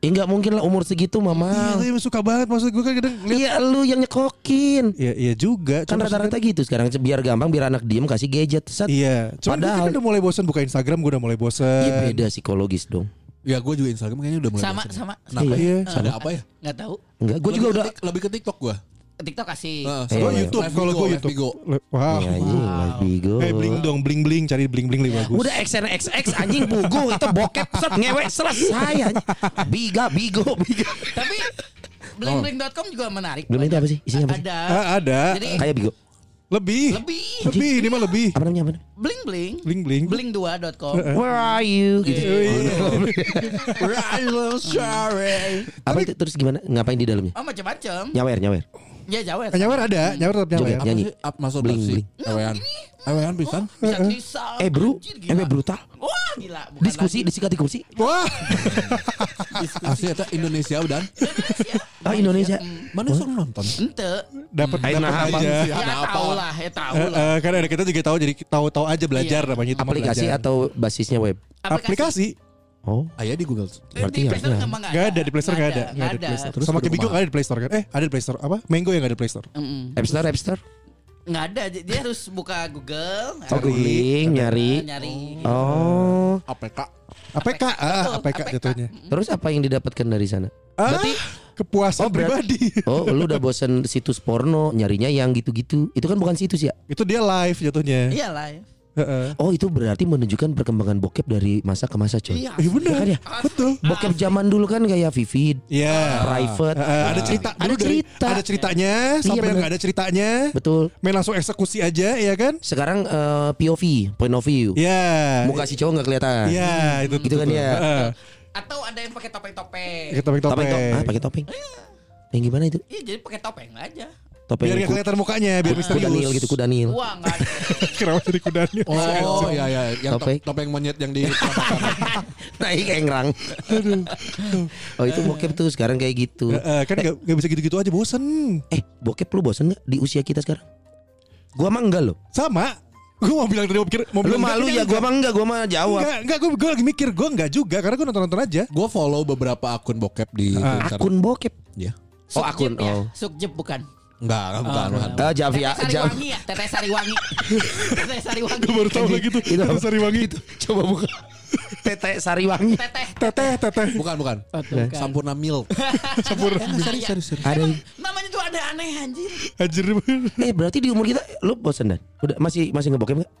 Ya enggak mungkin lah umur segitu Iya, mama. tapi suka banget maksud gue kan kadang lihat. Iya lu yang nyekokin. Iya, iya juga. Kan Cuma rata-rata gitu sekarang biar gampang biar anak diem kasih gadget. Set. Iya, cuman gue kan Padahal- udah mulai bosen buka Instagram, gue udah mulai bosen. Iya beda psikologis dong. Ya gue juga Instagram kayaknya udah mulai Sama bosen. sama. Kenapa? Iya. ya? Ada apa ya? Enggak tahu. Enggak, gue juga Lebih udah. ke Iya, tik- lebih ke TikTok gue. TikTok kasih. Gua Gue YouTube, kalau gue YouTube. Wow. Ya, anjing, live bigo. Eh bling dong, bling bling, cari bling bling lebih bagus. Udah XNXX anjing bugo itu bokep set ngewe selesai anjing. Biga bigo biga. Tapi blingbling.com juga menarik. Bling itu apa sih? Isinya apa sih? Ada. Ah, ada. Jadi Kayak bigo. lebih. lebih Lebih, ini mah lebih. Apa namanya apa? namanya? bling bling Bling bling. bling2.com. Where are you? Gitu. Iya. sorry. Apa itu terus gimana? Ngapain di dalamnya? Oh macam-macam. Nyawer nyawer. Ya Jawa. Nyawar Eh, ada, nyawar tetap nyawar. Joget ya. nyanyi. Nyanyi. Apa maksud Bling, sih? bling. Ewean. Ewean pisan. Oh, Bisa trisam. Eh bro, Anjir, eh gila. brutal. Wah gila. Bukan Diskusi lagi. disikat di kursi. Wah, Asli eta Indonesia udah. Ah Indonesia. Mana sok nonton? Ente. dapat Ayo, dapat nah, Bang. aja. Ya, tau lah. Ya tau Eh, lah. eh, Karena ada kita juga tahu jadi tahu-tahu aja belajar namanya itu mah Aplikasi belajar. atau basisnya web? eh, aplikasi Oh. Aya di Google. Berarti Di ya, Playstore ya. emang Gak ada di Playstore gak ada Gak ada di Nggak Playstore Sama kayak Bigo gak ada di Playstore kan Eh ada di Playstore Apa? Mango yang gak ada di Playstore Mm-mm. App Store, App Store. Nggak ada. Dia dia harus buka Google. Oh, googling, nyari. Nyari. Iya. Oh. APK. APK ah, Betul, APK jatuhnya Terus apa yang didapatkan dari sana? ah, Kepuasan Oh, berarti- pribadi Oh, lu udah bosen situs porno, nyarinya yang gitu-gitu. Itu kan bukan situs ya? Itu dia live jatuhnya Iya live. Heeh. Oh, itu berarti menunjukkan perkembangan bokep dari masa ke masa, coy. Iya. Iya bener Kan ya? Betul Bokep zaman dulu kan kayak Vivid, Iya Private. Nah. Eh, eh, Ada cerita Ada Dulu dari- cerita. Ada ceritanya Sampai yang bener. gak ada ceritanya Betul. Main langsung eksekusi aja ya kan Sekarang eh, POV, point of view. Iya Muka si cowok nggak kelihatan. Iya itu Gitu kan ya? Heeh. Atau ada yang pakai topeng-topeng. Pakai topeng-topeng Topeng, ah, pakai topeng. Yang gimana itu? Iya jadi pakai topeng aja. Topeng Biar gak ku- kelihatan mukanya Biar kuda misterius nil gitu, kuda nil. Wah nggak ada. Kenapa jadi kudanya Oh, iya iya yang Topeng. top- topeng monyet yang di Naik engrang. oh, itu bokep tuh sekarang kayak gitu. Heeh, Kan gak, gak bisa gitu-gitu aja Bosen Eh, bokep lu bosen gak di usia kita sekarang? Gua mah enggak loh. Sama. Gue mau bilang tadi mau pikir mau Lu bilang malu ya, enggak, gua mah enggak, gua mah jawab. Enggak, enggak gue lagi mikir, gue enggak juga karena gue nonton-nonton aja. Gue follow beberapa akun bokep di Twitter. Ah, Akun bokep. Ya. Oh, akun. Sukjep ya. Oh. Sukjep bukan. Enggak, enggak, bukan. bukan. Ah, Javi, Teteh ah, Sariwangi Javi. ya, Teteh Sariwangi. Teteh Sariwangi. Baru tahu lagi tuh. Itu apa? Itu Sariwangi itu. Coba buka. Tete Sariwangi. Teteh. Teteh, teteh. Bukan, bukan. Sampurna Milk. Eh, Campur. Iya. Serius, serius, serius. Ada. Emang namanya tuh ada aneh anjir. Anjir. Eh, berarti di umur kita lu bosen dan? Udah masih masih ngebokep enggak?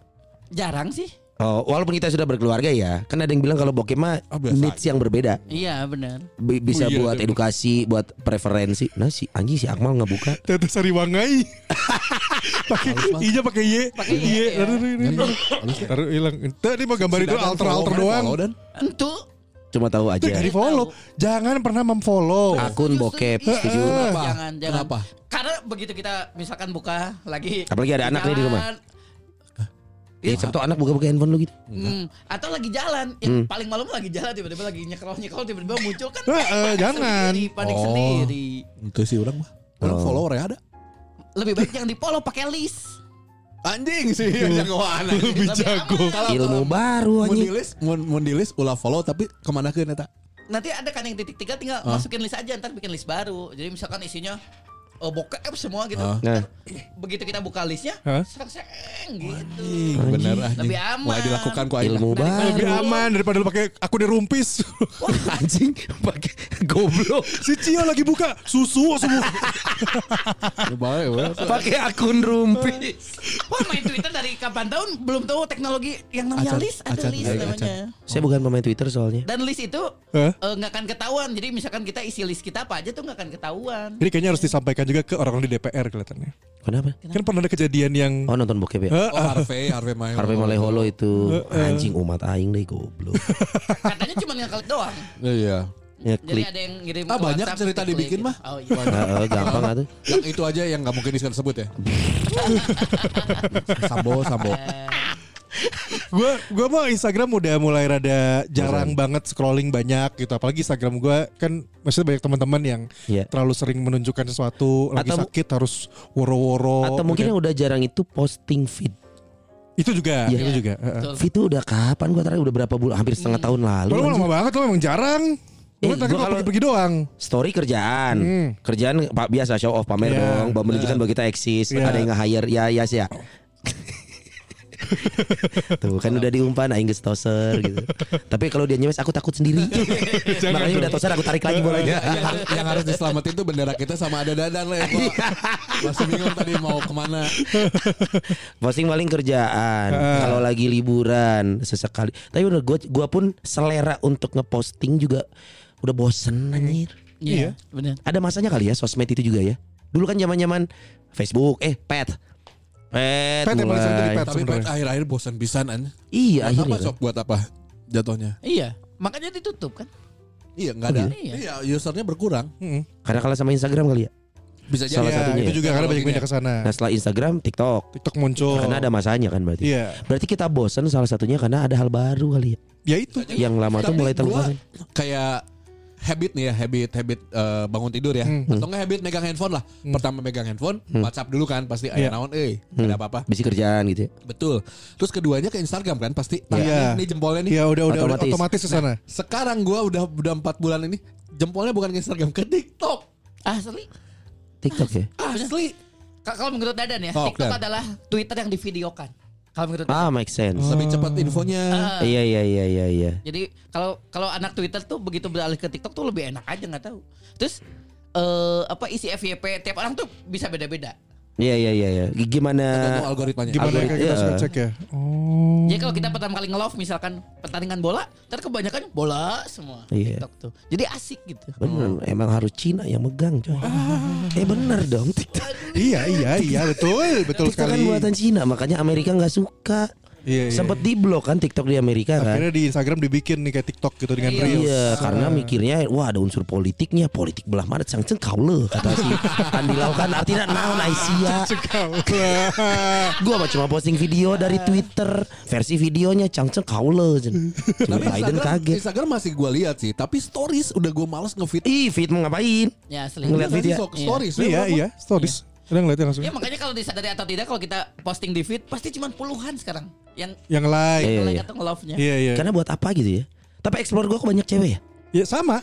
Jarang sih. Oh, walaupun kita sudah berkeluarga ya, kan ada yang bilang kalau bokep mah Oh, biasa needs yang berbeda. Iya benar. Bi- bisa Oh, iya, buat iya. edukasi, buat preferensi. Nah si anjing si Akmal nggak buka. Tete Sari Wangai. pakai inya pakai Y. Pakai Y, ya. iya. Taruh hilang. Tadi mah gambar itu alter alter doang. Entu. Cuma tahu aja. Tuh dari follow. Jangan pernah memfollow. Oh, Akun bokep Iya, setuju. Kenapa? Kenapa? Jangan, jangan. Kenapa? Karena begitu kita misalkan buka lagi. Apalagi ada di anak nih di jalan, rumah. Ya, siapa tahu anak buka-buka handphone lu gitu. Hmm, atau lagi jalan, yang paling malam lagi jalan tiba-tiba lagi nyekrol nyekrol tiba-tiba muncul kan. Hmm. Eh, eh, panik jangan. Sendiri, panik Oh. sendiri. Itu sih orang mah. Orang follower ya ada. Lebih baik yang di follow pakai list. Anjing sih jagoan anjing. Lebih jago. Kalau Ilmu baru Mun anjing. dilis, mun mun dilis ulah follow tapi kemana ke neta? Nanti ada kan yang titik tiga tinggal masukin list aja ntar bikin list baru. Jadi misalkan isinya eh, bokep semua gitu. Ah. Nah, Begitu kita buka listnya, Hah? seng gitu. Bener anjing. Lebih aman. Wah dilakukan ku aing. ilmu baru Lebih aman daripada lu pakai aku di rumpis. anjing pakai goblok si Cio lagi buka susu semua. Ya, baik, baik. pakai akun rumpi. Wah main Twitter dari kapan tahun belum tahu teknologi yang namanya Acan, list ada acan, list acan. namanya. Saya bukan pemain Twitter soalnya. Dan list itu Hah? eh, nggak akan ketahuan. Jadi misalkan kita isi list kita apa aja tuh nggak akan ketahuan. Jadi kayaknya harus disampaikan juga ke orang-orang di DPR kelihatannya. Kenapa? Kan pernah ada kejadian yang Oh nonton bokep ya? Oh Harvey, Harvey Mayo. Harvey Maleholo itu anjing umat aing deh goblok. Katanya cuma ngeklik doang. Iya. Ya Jadi klik. ada yang ngirim Ah, ke banyak WhatsApp, cerita klik dibikin gitu. mah. Oh iya. Nah, eh, gampang atuh. Yang itu aja yang nggak mungkin disebut ya. sambo, sambo. gua gua mau Instagram udah mulai rada jarang banget scrolling banyak gitu apalagi Instagram gua kan maksudnya banyak teman-teman yang Iya. terlalu sering menunjukkan sesuatu lagi Atau- sakit harus woro-woro Atau mungkin gitu. yang udah jarang itu posting feed. itu juga Iya. itu juga heeh. Betul. Feed tuh udah kapan gua terakhir udah berapa bulan hampir setengah tahun lalu. Lu anjing. lama banget lu emang jarang Lu tadi Eh, gua kalau kalau- pergi-pergi doang Story kerjaan, kerjaan pak biasa show off Hmm. pamer Iya. dong, bah- menunjukkan bahwa kita eksis. Iya. Ada yang nge-hire ya ya sih ya. Tuh kan udah diumpan aing geus toser gitu. Tapi kalau dia nyemes aku takut sendiri. Makanya udah toser aku tarik lagi bolanya. Iya. yang, Iya. har- yang harus diselamatin tuh bendera kita sama ada dadan lah ya. Gua Masih bingung tadi mau kemana. Posting paling kerjaan. Iya. Kalau lagi liburan sesekali. Tapi bener gua gua pun selera untuk ngeposting juga udah Hmm. bosen anjir. Iya. Benar. Ada masanya kali ya sosmed itu juga ya. Dulu kan zaman-zaman Facebook, eh pet. Pet, Pet yang paling sering jadi mulai. pet. Tapi Sebenarnya. Pat, akhir-akhir bosan pisan an. Iya Buat akhirnya. apa kan. sok buat apa jatuhnya? Iya. Makanya ditutup kan. Iya nggak ada. Iya. Iya usernya berkurang. Heeh. kan. Karena kalah sama Instagram kali ya. Bisa jadi. Salah Iya, satunya itu ya. juga karena banyak Teknologinya. pindah ke sana Nah setelah Instagram, TikTok. TikTok muncul Karena ada masanya kan berarti. Oh. Iya. Berarti kita bosen salah satunya karena ada hal baru kali ya. ya itu Yang lama tuh Tapi mulai gua terlupakan. Kayak habit nih ya, habit habit eh, bangun tidur ya. Hmm. Atau nggak habit megang handphone lah. Pertama megang handphone, WhatsApp dulu kan pasti Iya. aya naon euy, ada apa-apa. Bisi kerjaan gitu ya. Betul. Terus keduanya ke Instagram kan pasti. Tangan Iya. ini jempolnya nih. ya udah udah udah Otomatis. Nah. otomatis ke sana Sekarang gua udah udah 4 bulan ini jempolnya bukan ke Instagram ke TikTok. Asli. TikTok ya. Asli. Ah, Ka- Kalau menurut Dadan ya, Oh, Dan. TikTok adalah Twitter yang divideokan. Kalau menurut Ah make sense. Oh. Lebih cepat infonya. Ah. Iya iya iya iya iya. Jadi kalau kalau anak Twitter tuh begitu beralih ke TikTok tuh lebih enak aja nggak tahu. Terus eh apa isi FYP tiap orang tuh bisa beda-beda. Iya iya iya iya. Gimana Tergantung algoritmanya. gimana Algorit- kayak kita iya. suka cek ya oh Jadi kalau kita Hmm. pertama kali nge-love misalkan pertandingan bola, ntar kebanyakan bola semua Iya. TikTok tuh. Jadi asik gitu. Oh. Bener, emang harus Cina yang megang coy. Ah. Eh bener dong TikTok. iya iya iya betul betul TikTok kan sekali buatan Cina, makanya Amerika nggak suka. Iya, iya. Sempet diblok kan TikTok di Amerika kan. akhirnya di Instagram dibikin nih kayak TikTok gitu dengan Iya. reels Iya, karena mikirnya wah ada unsur politiknya, politik belah mana cangceng kau le kata si Andi Lau kan artinya naon Aisyah. ya." Gua mah cuma posting video dari Twitter versi videonya cangceng kau le. jen. Cuma Tapi Biden Instagram, kaget. Instagram masih gua lihat sih, tapi stories udah gua males ngefit. Ih, Fit mau ngapain? Ya asli. Nggak Ngeliat sih, video. sok- stories. Iya Walaupun- iya stories. Udah ngeliatin langsung. Ya makanya kalau disadari atau tidak kalau kita posting di feed pasti cuman puluhan sekarang yang Yang like. Iya, like iya. atau nge-love-nya. Iya iya. Karena buat apa gitu ya? Tapi explore gua kok banyak cewek ya? Ya sama.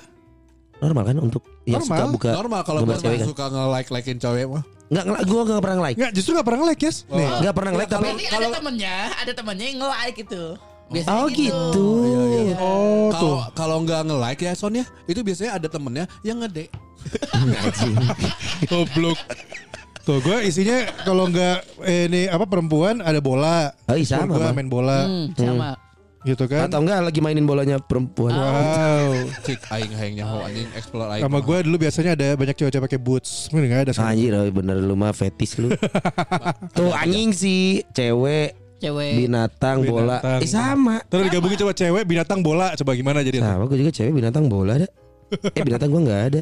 Normal kan untuk yang suka Normal, buka Normal kalau gambar gua cewek kan? suka nge-like-likein cewek mah. Nggak, nggak, gua nggak pernah like. Enggak, justru gak pernah like, Yes. Nih. Nggak pernah like Iya, tapi Berarti ada temennya, ada temennya yang nge-like gitu. Biasanya Oh gitu. Iya, Oh, tuh. Kalau kalau nggak nge-like ya Son ya, itu biasanya ada temennya yang ngede. Goblok. Tuh gue isinya kalau nggak eh, ini apa perempuan ada bola. Eh, Gue sama, Bang. main bola Hmm, sama. gitu kan. Ah. Atau enggak lagi mainin bolanya perempuan. Wow. Cik aing hayangnya ho anjing explore aing. Sama gue dulu biasanya ada banyak cewek-cewek pakai boots. Mungkin nggak ada sekarang. Anjir oh, bener lu mah fetis lu. Tuh anjing sih cewek Cewek. binatang, bola. Binatang. Eh sama. Terus digabungin coba cewek binatang bola coba gimana jadi? Sama gue juga cewek binatang bola ada. Eh binatang gua nggak ada.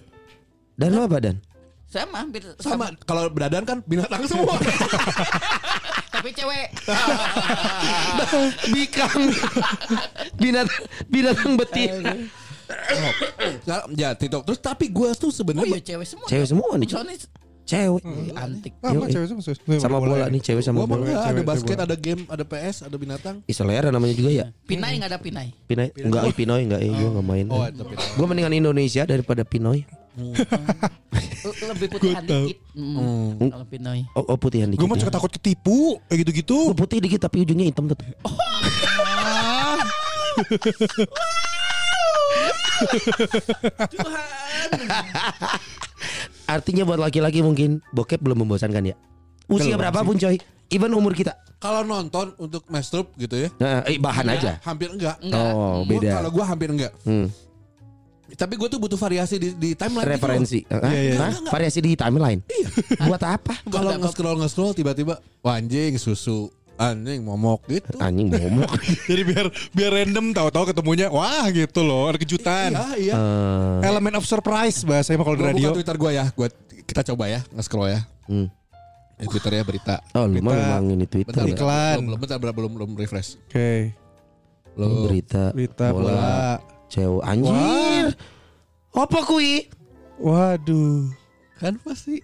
Dan lu apa dan? Sama, bin- sama kalau berdadan kan binatang semua. Tapi cewek. Bikang. binatang binatang Eh, betina. Sekarang, ya TikTok terus tapi gue tuh Oh iya sebenarnya cewek semua. Cewek semua nih. Soalnya Cewek. antik. Sama Yoi. cewek sama, sama, Sama bola ya. nih cewek sama gue mah bola. nggak, ada cewek, basket, cewek. ada game, ada PS, ada binatang. Ih selera namanya juga ya. Pinai nggak ada pinai. Pinai enggak eh, Pinoy enggak eh gua enggak main. Oh, ada Pinoy. Gua mendingan Indonesia daripada Pinoy. L- Lebih putihan dikit. Mm, Kalau pinai. Oh, oh putihan dikit. Gue mah ya. suka takut ketipu kayak Lu gitu-gitu. putih dikit tapi ujungnya hitam tetap. Artinya buat laki-laki mungkin bokep belum membosankan ya. Usia Belum berapapun coy, even umur kita. Kalau nonton untuk masturb gitu ya, Nah, eh, bahan aja. hampir enggak. Iya. Oh, Enggak. Gua- beda. Kalau gue hampir enggak. Hmm, Tapi gue tuh butuh variasi di, di timeline. gitu loh. referensi. Hah? Iya, iya. Hah? Variasi di timeline. buat apa? Kalau nge-scroll nge-scroll tiba-tiba wah, anjing susu, anjing momok gitu. Anjing momok. Jadi biar biar random tahu-tahu ketemunya wah gitu loh ada kejutan. Iya, iya. Eh, Element of surprise bahasanya mah kalau di Gua radio. buka Twitter gue ya, gua kita coba ya nge-scroll ya. hmm. Di Twitter ya berita. Oh, lu mah Berita. memang ini Bentar, Twitter. ya. bentar, Iklan. Belum, belum, bentar, belum, belum, belum refresh. Oke. Ini Belum. berita, Berita bola. cewek anjir. Apa kui? Waduh. Kan pasti.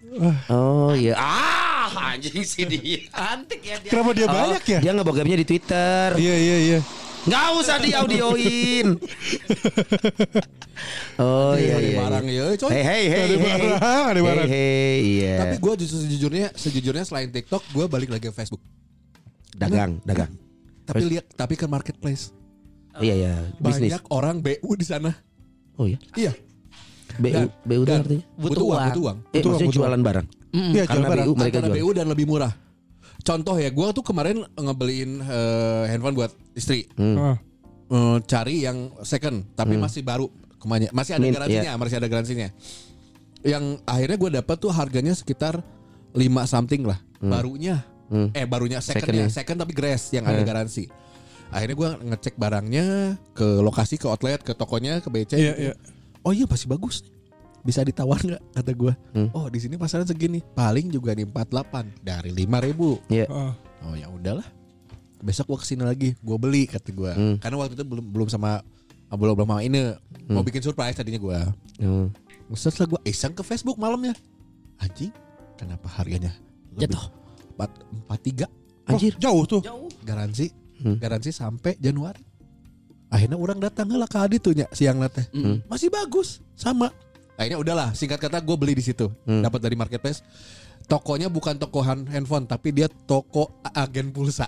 Oh iya. Ah, anjing sih dia. Antik ya dia. Kenapa dia Ah, Oh, banyak ya? Dia ngebokepnya di Twitter. Iya iya iya. Nggak usah diaudioin. oh iya Ada iya. barang ya, coy. Hei hei hei. Ada barang, ada barang. Hei hei, iya. Tapi gue justru sejujurnya, sejujurnya selain TikTok, gue balik lagi ke Facebook. dagang, dagang. Tapi lihat, tapi ke marketplace. Oh, iya iya, bisnis. Banyak orang BU di sana. Oh iya. Iya. BU Dan- BU itu dan artinya. Butuh uang, butuh uang. Eh, Betul, maksudnya betul. jualan barang. Iya Karena jual barang. BU mereka Antara jual. BU dan lebih murah. Contoh ya, gue tuh kemarin ngebeliin eh, handphone buat istri. Hmm. Ah. Eh, cari yang second, tapi masih baru. Kemanya. Masih ada Min, iya. garansinya, masih ada garansinya. Yang akhirnya gue dapat tuh harganya sekitar 5 something lah. Hmm. Barunya. Eh barunya secondnya. Secondnya. Second tapi grass yang Eh. ada garansi. Akhirnya gue ngecek barangnya ke lokasi, ke outlet, ke tokonya, ke BC. Iya gitu. iya. Oh iya pasti bagus nih. Bisa ditawar nggak kata gue? Oh di sini pasaran segini, paling juga di 48 dari 5000 Iya. Ah. Oh ya udahlah. Besok gue kesini lagi, gue beli kata gue. Karena waktu itu belum belum sama belum belum sama ini mau bikin surprise tadinya gue. Hmm. Setelah gue iseng ke Facebook malamnya, anjing kenapa harganya lebih- Jatuh. empat empat tiga Anjir. Oh, jauh tuh. Hmm. Jauh. garansi garansi sampai Januari. Akhirnya orang datang lah ke Adi tuh nya siang nanti. Hmm. Masih bagus, sama. Akhirnya udahlah, singkat kata gue beli di situ. Hmm. Dapat dari marketplace. Tokonya bukan toko han- handphone, tapi dia toko a- agen pulsa.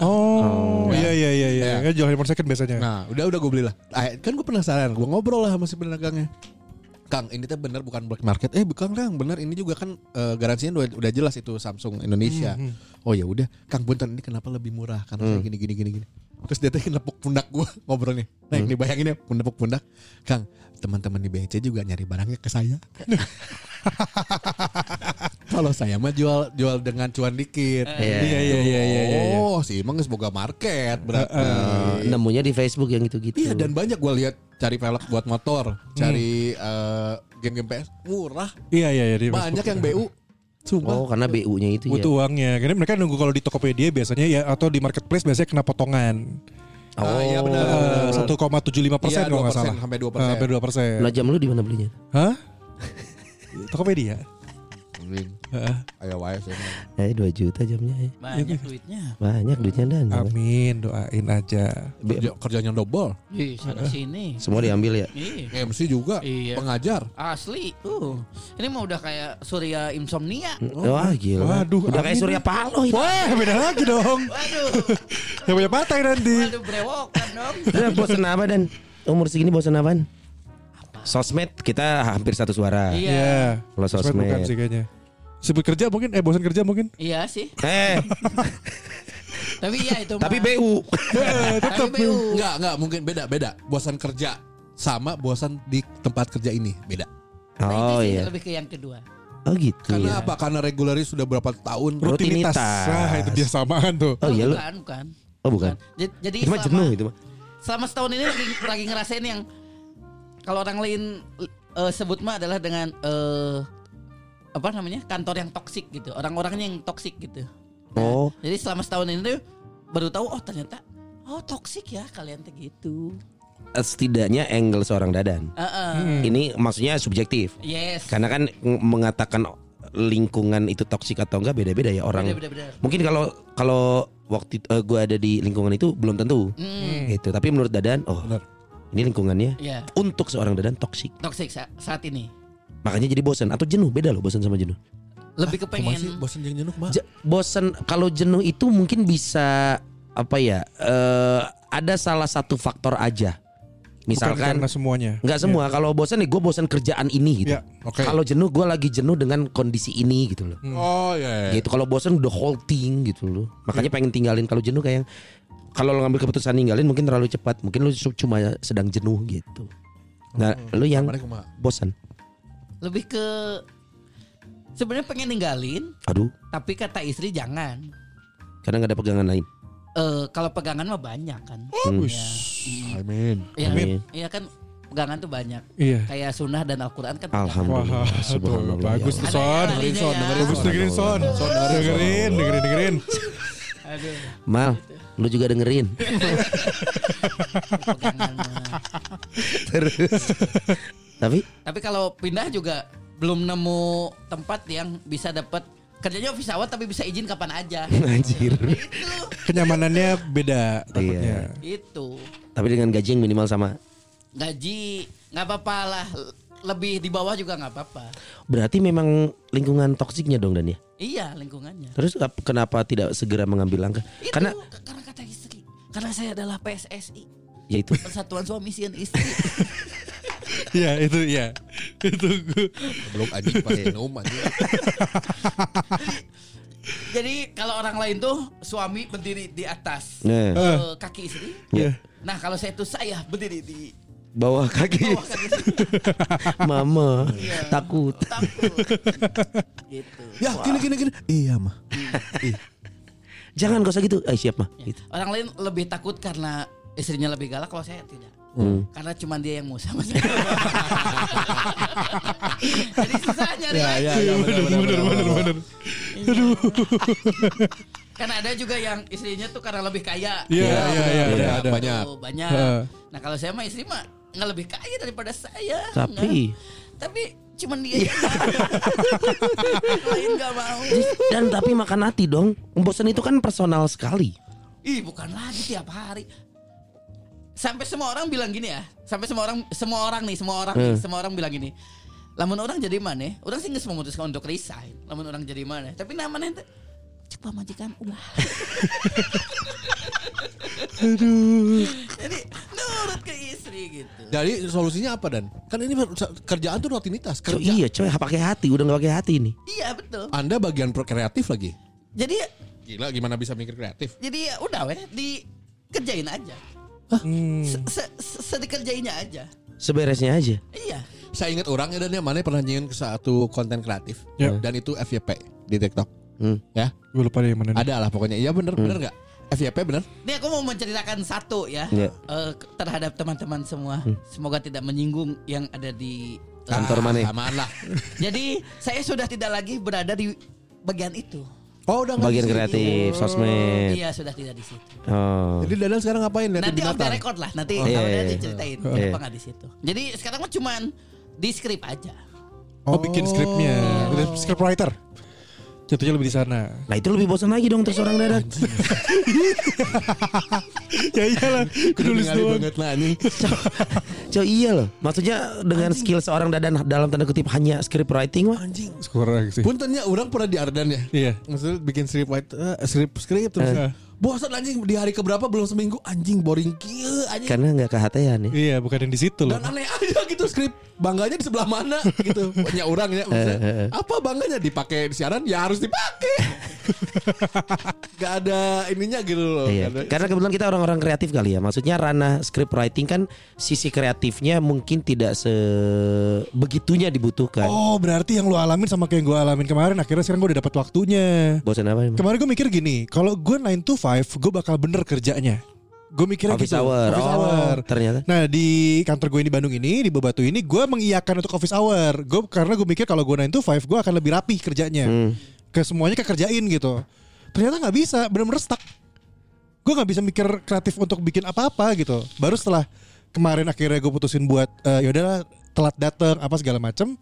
Oh, iya iya iya iya. Iya. Kan jual handphone second biasanya. Iya. Nah, udah udah gue belilah. Ah, Kan gue penasaran, gue ngobrol lah sama si penegangnya. Kang, ini tuh bener bukan black market. Eh, bukan Kang, bener ini juga kan eh, garansinya udah, udah jelas itu Samsung Indonesia. Hmm, Oh ya udah, Kang Bunten ini kenapa lebih murah? Karena saya gini gini gini gini. Terus dia tuh nepuk pundak gue ngobrolnya. Nah, ini bayangin ya, nepuk pundak. Kang, teman-teman di BC juga nyari barangnya ke saya. Kalau saya mah jual jual dengan cuan dikit. Iya. iya, iya, iya, iya. Oh, si Imang semoga market berarti. Eh, Nemunya di Facebook yang gitu-gitu. Iya dan banyak gue lihat cari velg buat motor, Hmm. cari eh, game-game PS murah, Iya iya iya. dia banyak Facebook. yang BU. Oh, Sumpah. karena BU-nya itu ya. butuh uangnya. Karena mereka nunggu kalau di Tokopedia biasanya ya atau di marketplace biasanya kena potongan. Oh, iya benar. Eh, 1,75 persen Iya, kalau nggak 2%, salah. sampai 2%. Eh, Sampai 2 persen. Nah, jam lu di mana belinya? Hah? ya? Tokopedia. Anjing. Heeh. Ayo wife. ya. Eh, 2 juta jamnya. eh. Banyak duitnya. Banyak duitnya dan. Amin, doain aja. Kerja- kerjanya double, Di sana sini. Semua diambil ya. Ih. MC juga, Iya. pengajar. Asli. Uh. Ini mah udah kayak Surya Insomnia. Wah gila. Waduh, Udah kayak angin. Surya Paloh itu. Wah, Eh, beda lagi dong. Waduh. Yang punya pantai nanti. Waduh brewokan dong. Udah bosen apa dan? Umur segini bosen apaan? Sosmed kita hampir satu suara. Iya. Iya. Kalau sosmed. bukan sih kayaknya. Sibuk kerja mungkin Eh bosan kerja mungkin Iya sih. Eh, Tapi iya itu. tapi mah. BU. Tapi BU. Enggak, enggak mungkin beda, beda. Bosan kerja sama bosan di tempat kerja ini beda. Nah, itu Oh sih iya. Lebih ke yang kedua. Oh gitu. Karena ya. apa? Karena regularnya sudah berapa tahun. Ru- Rutinitas. Nah itu dia samaan tuh Oh iya lu. Bukan, bukan. Oh bukan. Jadi, jadi Itu mah selama- jenuh itu mah. selama setahun ini lagi, lagi ngerasain yang kalau orang lain eh, sebut mah adalah dengan eh, apa namanya kantor yang toksik gitu orang-orangnya yang toksik gitu Nah, Oh. jadi selama setahun ini tuh baru tahu oh ternyata oh toksik ya kalian tuh gitu Eh, Setidaknya angle seorang Dadan. Heeh. Ini maksudnya subjektif. yes Hmm. Karena kan ng- mengatakan lingkungan itu toksik atau enggak beda-beda ya orang. Beda, beda, beda. Mungkin kalau kalau waktu eh, gua ada di lingkungan itu belum tentu. Hmm, Gitu. Tapi menurut Dadan, oh. Benar. Ini lingkungannya ya untuk seorang Dadan toksik. toksik sa- saat ini Makanya jadi bosan atau jenuh, beda loh bosan sama jenuh. lebih Kumaha sih kepengen bosan jeung jenuh mah. Je- bosen kalau jenuh itu mungkin bisa apa ya eh ada salah satu faktor aja Bukan misalkan karena semuanya Iya. nggak semua kalau bosen nih gue bosen kerjaan ini gitu Ya, oke. kalau jenuh gue lagi jenuh dengan kondisi ini gitu loh Oh iya. iya. gitu kalau bosen the whole thing gitu loh makanya pengen tinggalin kalau jenuh kayak yang- kalau lo ngambil keputusan ninggalin mungkin terlalu cepat mungkin lo su- cuma sedang jenuh gitu nah lo yang Kemarin kumaha? bosan lebih ke sebenarnya pengen ninggalin aduh tapi kata istri jangan karena nggak ada pegangan lain Eh, kalau pegangan mah banyak kan Hmm. Amin. Iya Amin. iya kan pegangan tuh banyak. Iya Kayak sunnah dan Al-Quran kan Wah, alhamdulillah tuh, subhanallah bagus ya tuh Allah. Son Ada Dengerin yang Son larinya ya. Dengerin Bagus dengerin Son Dengerin Dengerin dengerin Aduh, mal lo juga dengerin pegangan mah. Terus. Tapi Tapi kalau pindah juga belum nemu tempat yang bisa dapat kerjanya office hour tapi bisa izin kapan aja. anjir. itu Kenyamanannya beda takutnya itu Tapi dengan gaji yang minimal sama. gaji nggak apa-apa lah lebih di bawah juga nggak apa-apa. Berarti memang lingkungan toksiknya dong Dan ya. Iya lingkungannya. Terus ap- kenapa tidak segera mengambil langkah? Itu Karena k- karena kata istri. Karena saya adalah PSSI ya itu Persatuan Suami dan Istri. Iya itu ya Itu gue Belum anjing pas minum anjing. Jadi kalau orang lain tuh suami berdiri di atas Nah, eh, kaki istri. ya. Nah kalau saya itu saya berdiri di bawah kaki bawah kaki istri. mama takut. Takut. gitu. Ya gini gini gini. Iya mah. Ih, Jangan gak usah gitu. Eh siap mah. Gitu. Orang lain lebih takut karena istrinya lebih galak kalau saya tidak. Hmm. Karena cuma dia yang mau sama saya. Jadi susah nyari Ya lagi. ya ya benar benar benar, benar. Bener Karena ada juga yang istrinya tuh karena lebih kaya. Iya iya iya Iya, ada, iya, ada. banyak. Oh, banyak. Heeh. Nah kalau saya mah istri mah nggak lebih kaya daripada saya. Tapi- Nggak. tapi cuman dia. yang mau. Lain nggak mau. Dan tapi makan hati dong. Bosan itu kan personal sekali. Ih bukan lagi tiap hari. Sampai semua orang bilang gini ya. Sampai semua orang semua orang nih semua orang nih, semua orang bilang gini. Lamun orang jadi mana? Orang sih nggak memutuskan untuk resign. Lamun orang jadi mana? Tapi namanya itu cek pamajikan ulah. Aduh. Jadi nurut ke istri gitu. Jadi solusinya apa dan? Kan ini kerjaan tuh rutinitas. Coy, Kerja. iya coy pakai hati udah gak pakai hati ini. Iya betul. Anda bagian pro kreatif lagi. Jadi Gila gimana bisa mikir kreatif? jadi ya udah weh dikerjain aja. Hmm. Se- se- se- Sedikerjainnya aja. Seberesnya aja. Iya. Saya ingat orang ya dan yang mana pernah nyiin ke satu konten kreatif Ya. dan itu FYP di TikTok. Hmm. Ya, Gue lupa deh yang mana ada lah pokoknya. Iya bener bener nggak? FYP bener? Ini aku mau menceritakan satu ya Iya. Hmm. eh, ke- terhadap teman-teman semua. Semoga tidak menyinggung yang ada di. eh, Kantor mana? Ah, Samaan lah. Jadi saya sudah tidak lagi berada di bagian itu. Oh udah nggak Bagian di situ. kreatif, sosmed. Iya sudah tidak di situ. Oh. Jadi Dadang sekarang ngapain? Liatin Nanti off the binatang. record lah. Nanti iya, kalau dia iya. diceritain Iya. apa nggak di situ. Jadi sekarang mah cuman di script aja. Oh, bikin skripnya Skrip writer Jatuhnya lebih di sana Nah itu lebih bosan lagi dong terus orang dadak. Ya iyalah Nulis Ningali doang banget lah anjing. Coy iya loh Maksudnya dengan skill seorang dadan Dalam tanda kutip hanya script writing mah Anjing. Kurang sih Puntennya orang pernah di Ardan ya. Iya Maksudnya bikin script white, eh, script script terus. Eh. bosan anjing di hari keberapa belum seminggu anjing boring kieu anjing Karena nggak kehatean ya. Iya bukan yang di situ loh. dan aneh aja gitu skrip bangganya di sebelah mana gitu punya orang ya maksudnya, apa bangganya dipakai di siaran ya harus dipakai nggak ada ininya gitu loh Iya. Nggak ada- Karena kebetulan kita orang-orang kreatif kali ya. Maksudnya ranah script writing kan sisi kreatifnya mungkin tidak sebegitunya dibutuhkan. Oh berarti yang lu alamin sama kayak yang gue alamin kemarin Akhirnya sekarang gue udah dapat waktunya Bosan apa? emang? Kemarin gue mikir gini Kalau gue 9 to 5 Gue bakal bener kerjanya Gue mikirnya Office gitu hour. Office Oh, hour ternyata. Nah di kantor gue ini Bandung ini Di Bebatu ini Gue mengiyakan untuk office hour Gue Karena gue mikir kalau gue 9 to 5 Gue akan lebih rapih kerjanya Hmm. Ke semuanya kekerjain gitu Ternyata nggak bisa Bener-bener stuck Gue nggak bisa mikir kreatif untuk bikin apa-apa gitu Baru setelah Kemarin akhirnya gue putusin buat eh, Yaudahlah telat datang Apa segala macem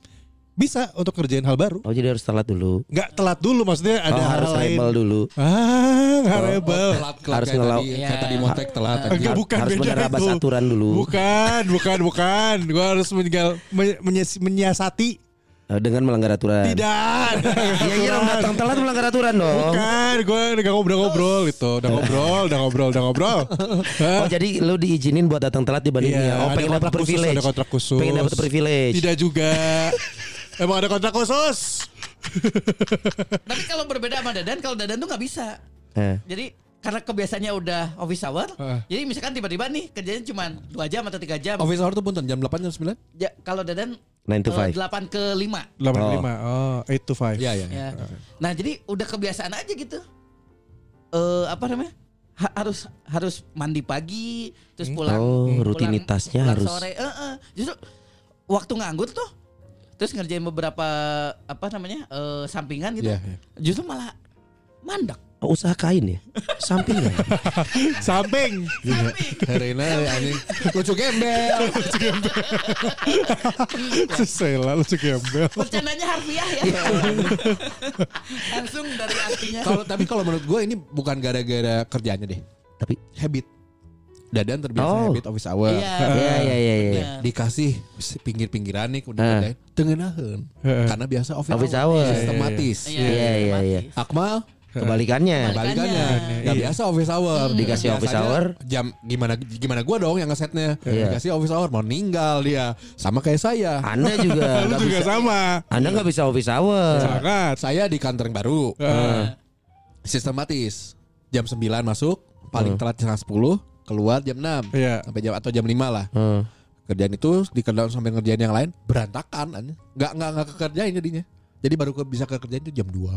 Bisa untuk kerjain hal baru Oh jadi harus telat dulu. Nggak telat dulu maksudnya Ada oh, hal harus lain rebel dulu. Oh, Ah, nggak rebel. telat telat Harus kayak ngelau- tadi, kayak tadi montek telat anjing. Enggak, Har- bukan, harus beda menerabas itu. aturan dulu. Bukan, bukan, bukan. Gua harus meninggal men- menyes- menyiasati. Eh, Dengan melanggar aturan. Tidak. Iya iya dong, datang telat melanggar aturan dong. Bukan, gue Kan, udah ngobrol-ngobrol gitu, Iya. udah ngobrol, udah ngobrol, udah ngobrol. Hah? Oh jadi lu diizinin buat datang telat Iya, dibanding dia. Oh ada pengen dapat kontrak khusus, privilege. ada kontrak khusus. Pengen dapat privilege. Tidak juga. Emang ada kontrak khusus? Tapi kalau berbeda sama Dadan, kalau Dadan tuh nggak bisa. Eh. Jadi karena kebiasaannya udah office hour, Heeh. jadi misalkan tiba-tiba nih kerjanya cuma dua jam atau tiga jam. office hour tuh punten jam 8 jam 9 Ja- kalau Dadan Nine to eh, five. delapan ke lima. 85. Oh, 8 to 5. Iya, iya. Ya. Nah jadi udah kebiasaan aja gitu. Eh apa namanya? Ha- harus harus mandi pagi, terus pulang. Oh, pulang- rutinitasnya harus. pulang Sore. Eh, eh. Justru waktu nganggur tuh, terus ngerjain beberapa apa namanya eh, sampingan gitu. Iya, iya. Justru malah mandek. Oh, usaha kain ya. Samping ya. Samping. Herina anjing lucu gembel Sesela lu gembel. Bercandanya harfiah ya. Langsung dari artinya. kalau tapi kalau menurut gue ini bukan gara-gara kerjaannya deh Tapi habit Dadan terbiasa Oh. habit office hour Iya. Iya iya iya iya. Benar. dikasih pinggir-pinggiran nih Ah. kemudian tengenaheun karena biasa office, Office hour. hour sistematis Iya, Iya, iya, iya. otomatis. Akmal Kebalikannya. balikannya Kebalikannya. nggak biasa office hour Iya. Hmm. Dikasih office Biasanya hour. jam gimana gimana gua dong yang ngesetnya Iya. Ah. dikasih office hour mau ninggal dia sama kayak saya Anda juga Lu juga nggak Iya. bisa. Iya. sama. Anda nggak bisa office hour. Sangat. saya di kantor yang baru sistematis jam 9 masuk paling telat jam 10 keluar jam 6 Iya. sampai jam atau jam 5 lah Hmm. kerjaan itu dikerjain sampai ngerjain yang lain berantakan anjing. nggak nggak nggak kekerjain jadinya jadi baru ke, bisa kekerjain itu jam 2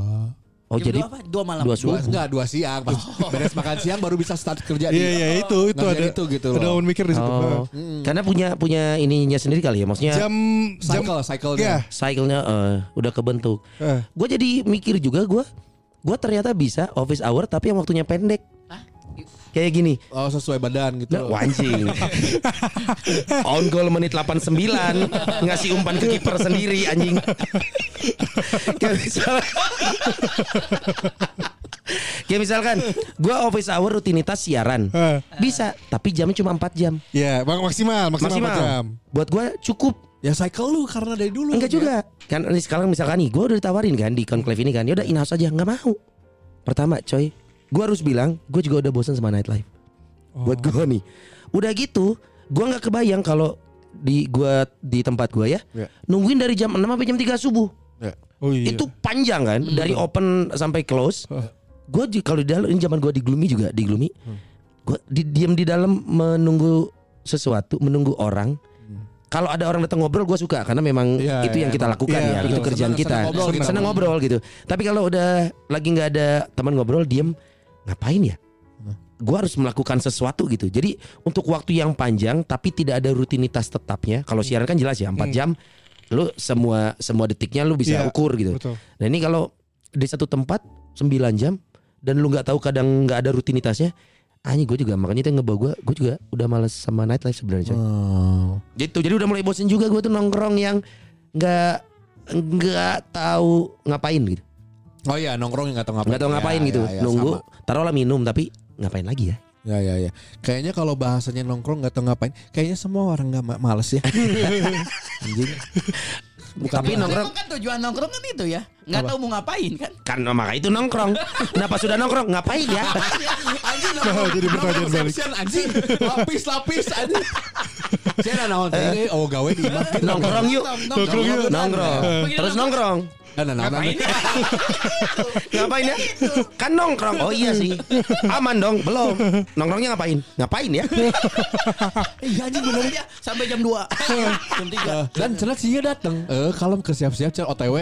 Oh Jam jadi dua apa? Dua malam. dua Dua, subuh. enggak, dua siang Pas Beres makan siang baru bisa start kerja Iya, iya itu itu Ngerjain ada itu gitu Ada loh. orang mikir di situ. Nah, Oh. Karena punya punya ininya sendiri kali ya. Maksudnya Jam jam Cycle, cycle Iya. cycle-nya eh, udah kebentuk. Eh. Gue jadi mikir juga gue gue ternyata bisa office hour tapi yang waktunya pendek. Hah? Kayak gini. Oh sesuai badan gitu Nah, loh. anjing. On goal menit 89 ngasih umpan ke kiper sendiri anjing. Kayak misalkan, Kayak misalkan gua office hour rutinitas siaran. Eh. Bisa, tapi jamnya cuma 4 jam. Ya, bang maksimal, maksimal, Maksimal. empat jam. Buat gua cukup. Ya cycle lu karena dari dulu Enggak juga. Kan ini sekarang misalkan nih gua udah ditawarin kan di conclave ini kan. Ya udah in-house aja nggak mau. Pertama, coy, gua harus bilang gua juga udah bosan sama nightlife. Buat gua nih. Udah gitu, gua nggak kebayang kalau di gua di tempat gua ya. Iya. Nungguin dari jam 6 sampai jam 3 subuh. Oh iya. Itu panjang kan Hmm. dari open sampai close. Gua ju- kalau di dalam ini zaman gua di Gloomy juga di Gloomy. Hmm. Gua di, diam di dalam menunggu sesuatu, menunggu orang. Kalau ada orang datang ngobrol gue suka karena memang Hmm. Iya, itu iya, yang kita emang. lakukan Iya, ya, itu betul. kerjaan Senang- kita. senang ngobrol gitu. Senang ngobrol gitu. Tapi kalau udah lagi nggak ada teman ngobrol, diem ngapain ya? Gue harus melakukan sesuatu gitu. Jadi untuk waktu yang panjang tapi tidak ada rutinitas tetapnya. Hmm. Kalau siaran kan jelas ya 4 jam lu semua semua detiknya lu bisa Iya, ukur gitu. Betul. Nah ini kalau di satu tempat 9 jam dan lu nggak tahu kadang nggak ada rutinitasnya, anjing gue juga makanya itu yang ngebawa gue, gue juga udah males sama nightlife sebenarnya. coy. Gitu jadi udah mulai bosen juga gue tuh nongkrong yang nggak nggak tahu ngapain gitu, Oh iya nongkrong yang nggak tahu ngapain. nggak tahu Ya, ngapain ya, gitu, ya, nunggu sama. taruhlah minum tapi ngapain lagi ya? Ya ya ya. Kayaknya kalau bahasanya nongkrong nggak tahu ngapain, kayaknya semua orang nggak ma- males ya. Anjing. Bukan tapi Emang- nongkrong emang kan tujuan nongkrong kan itu ya. Nggak tahu mau ngapain kan. kan maka itu nongkrong. Kenapa sudah nongkrong? Ngapain ya? Anjing Oh, nongkrong. jadi pertanyaan balik. Sian anjing, lapis-lapis anjing. Saya ada naon teh, oh gawe di imah gitu. Nongkrong yuk. Nongkrong yuk. Nongkrong. Begitu Oh. Terus nongkrong. Nah, nah, nah, nah. Ngapain ya? Kan nongkrong. Oh iya sih. Aman dong, belum. Nongkrongnya ngapain? Ngapain ya? Iya anjing bener ya. Sampai jam Nah, 2. jam 3. Dan cenah sih datang. Eh, kalau ke siap-siap cenah OTW.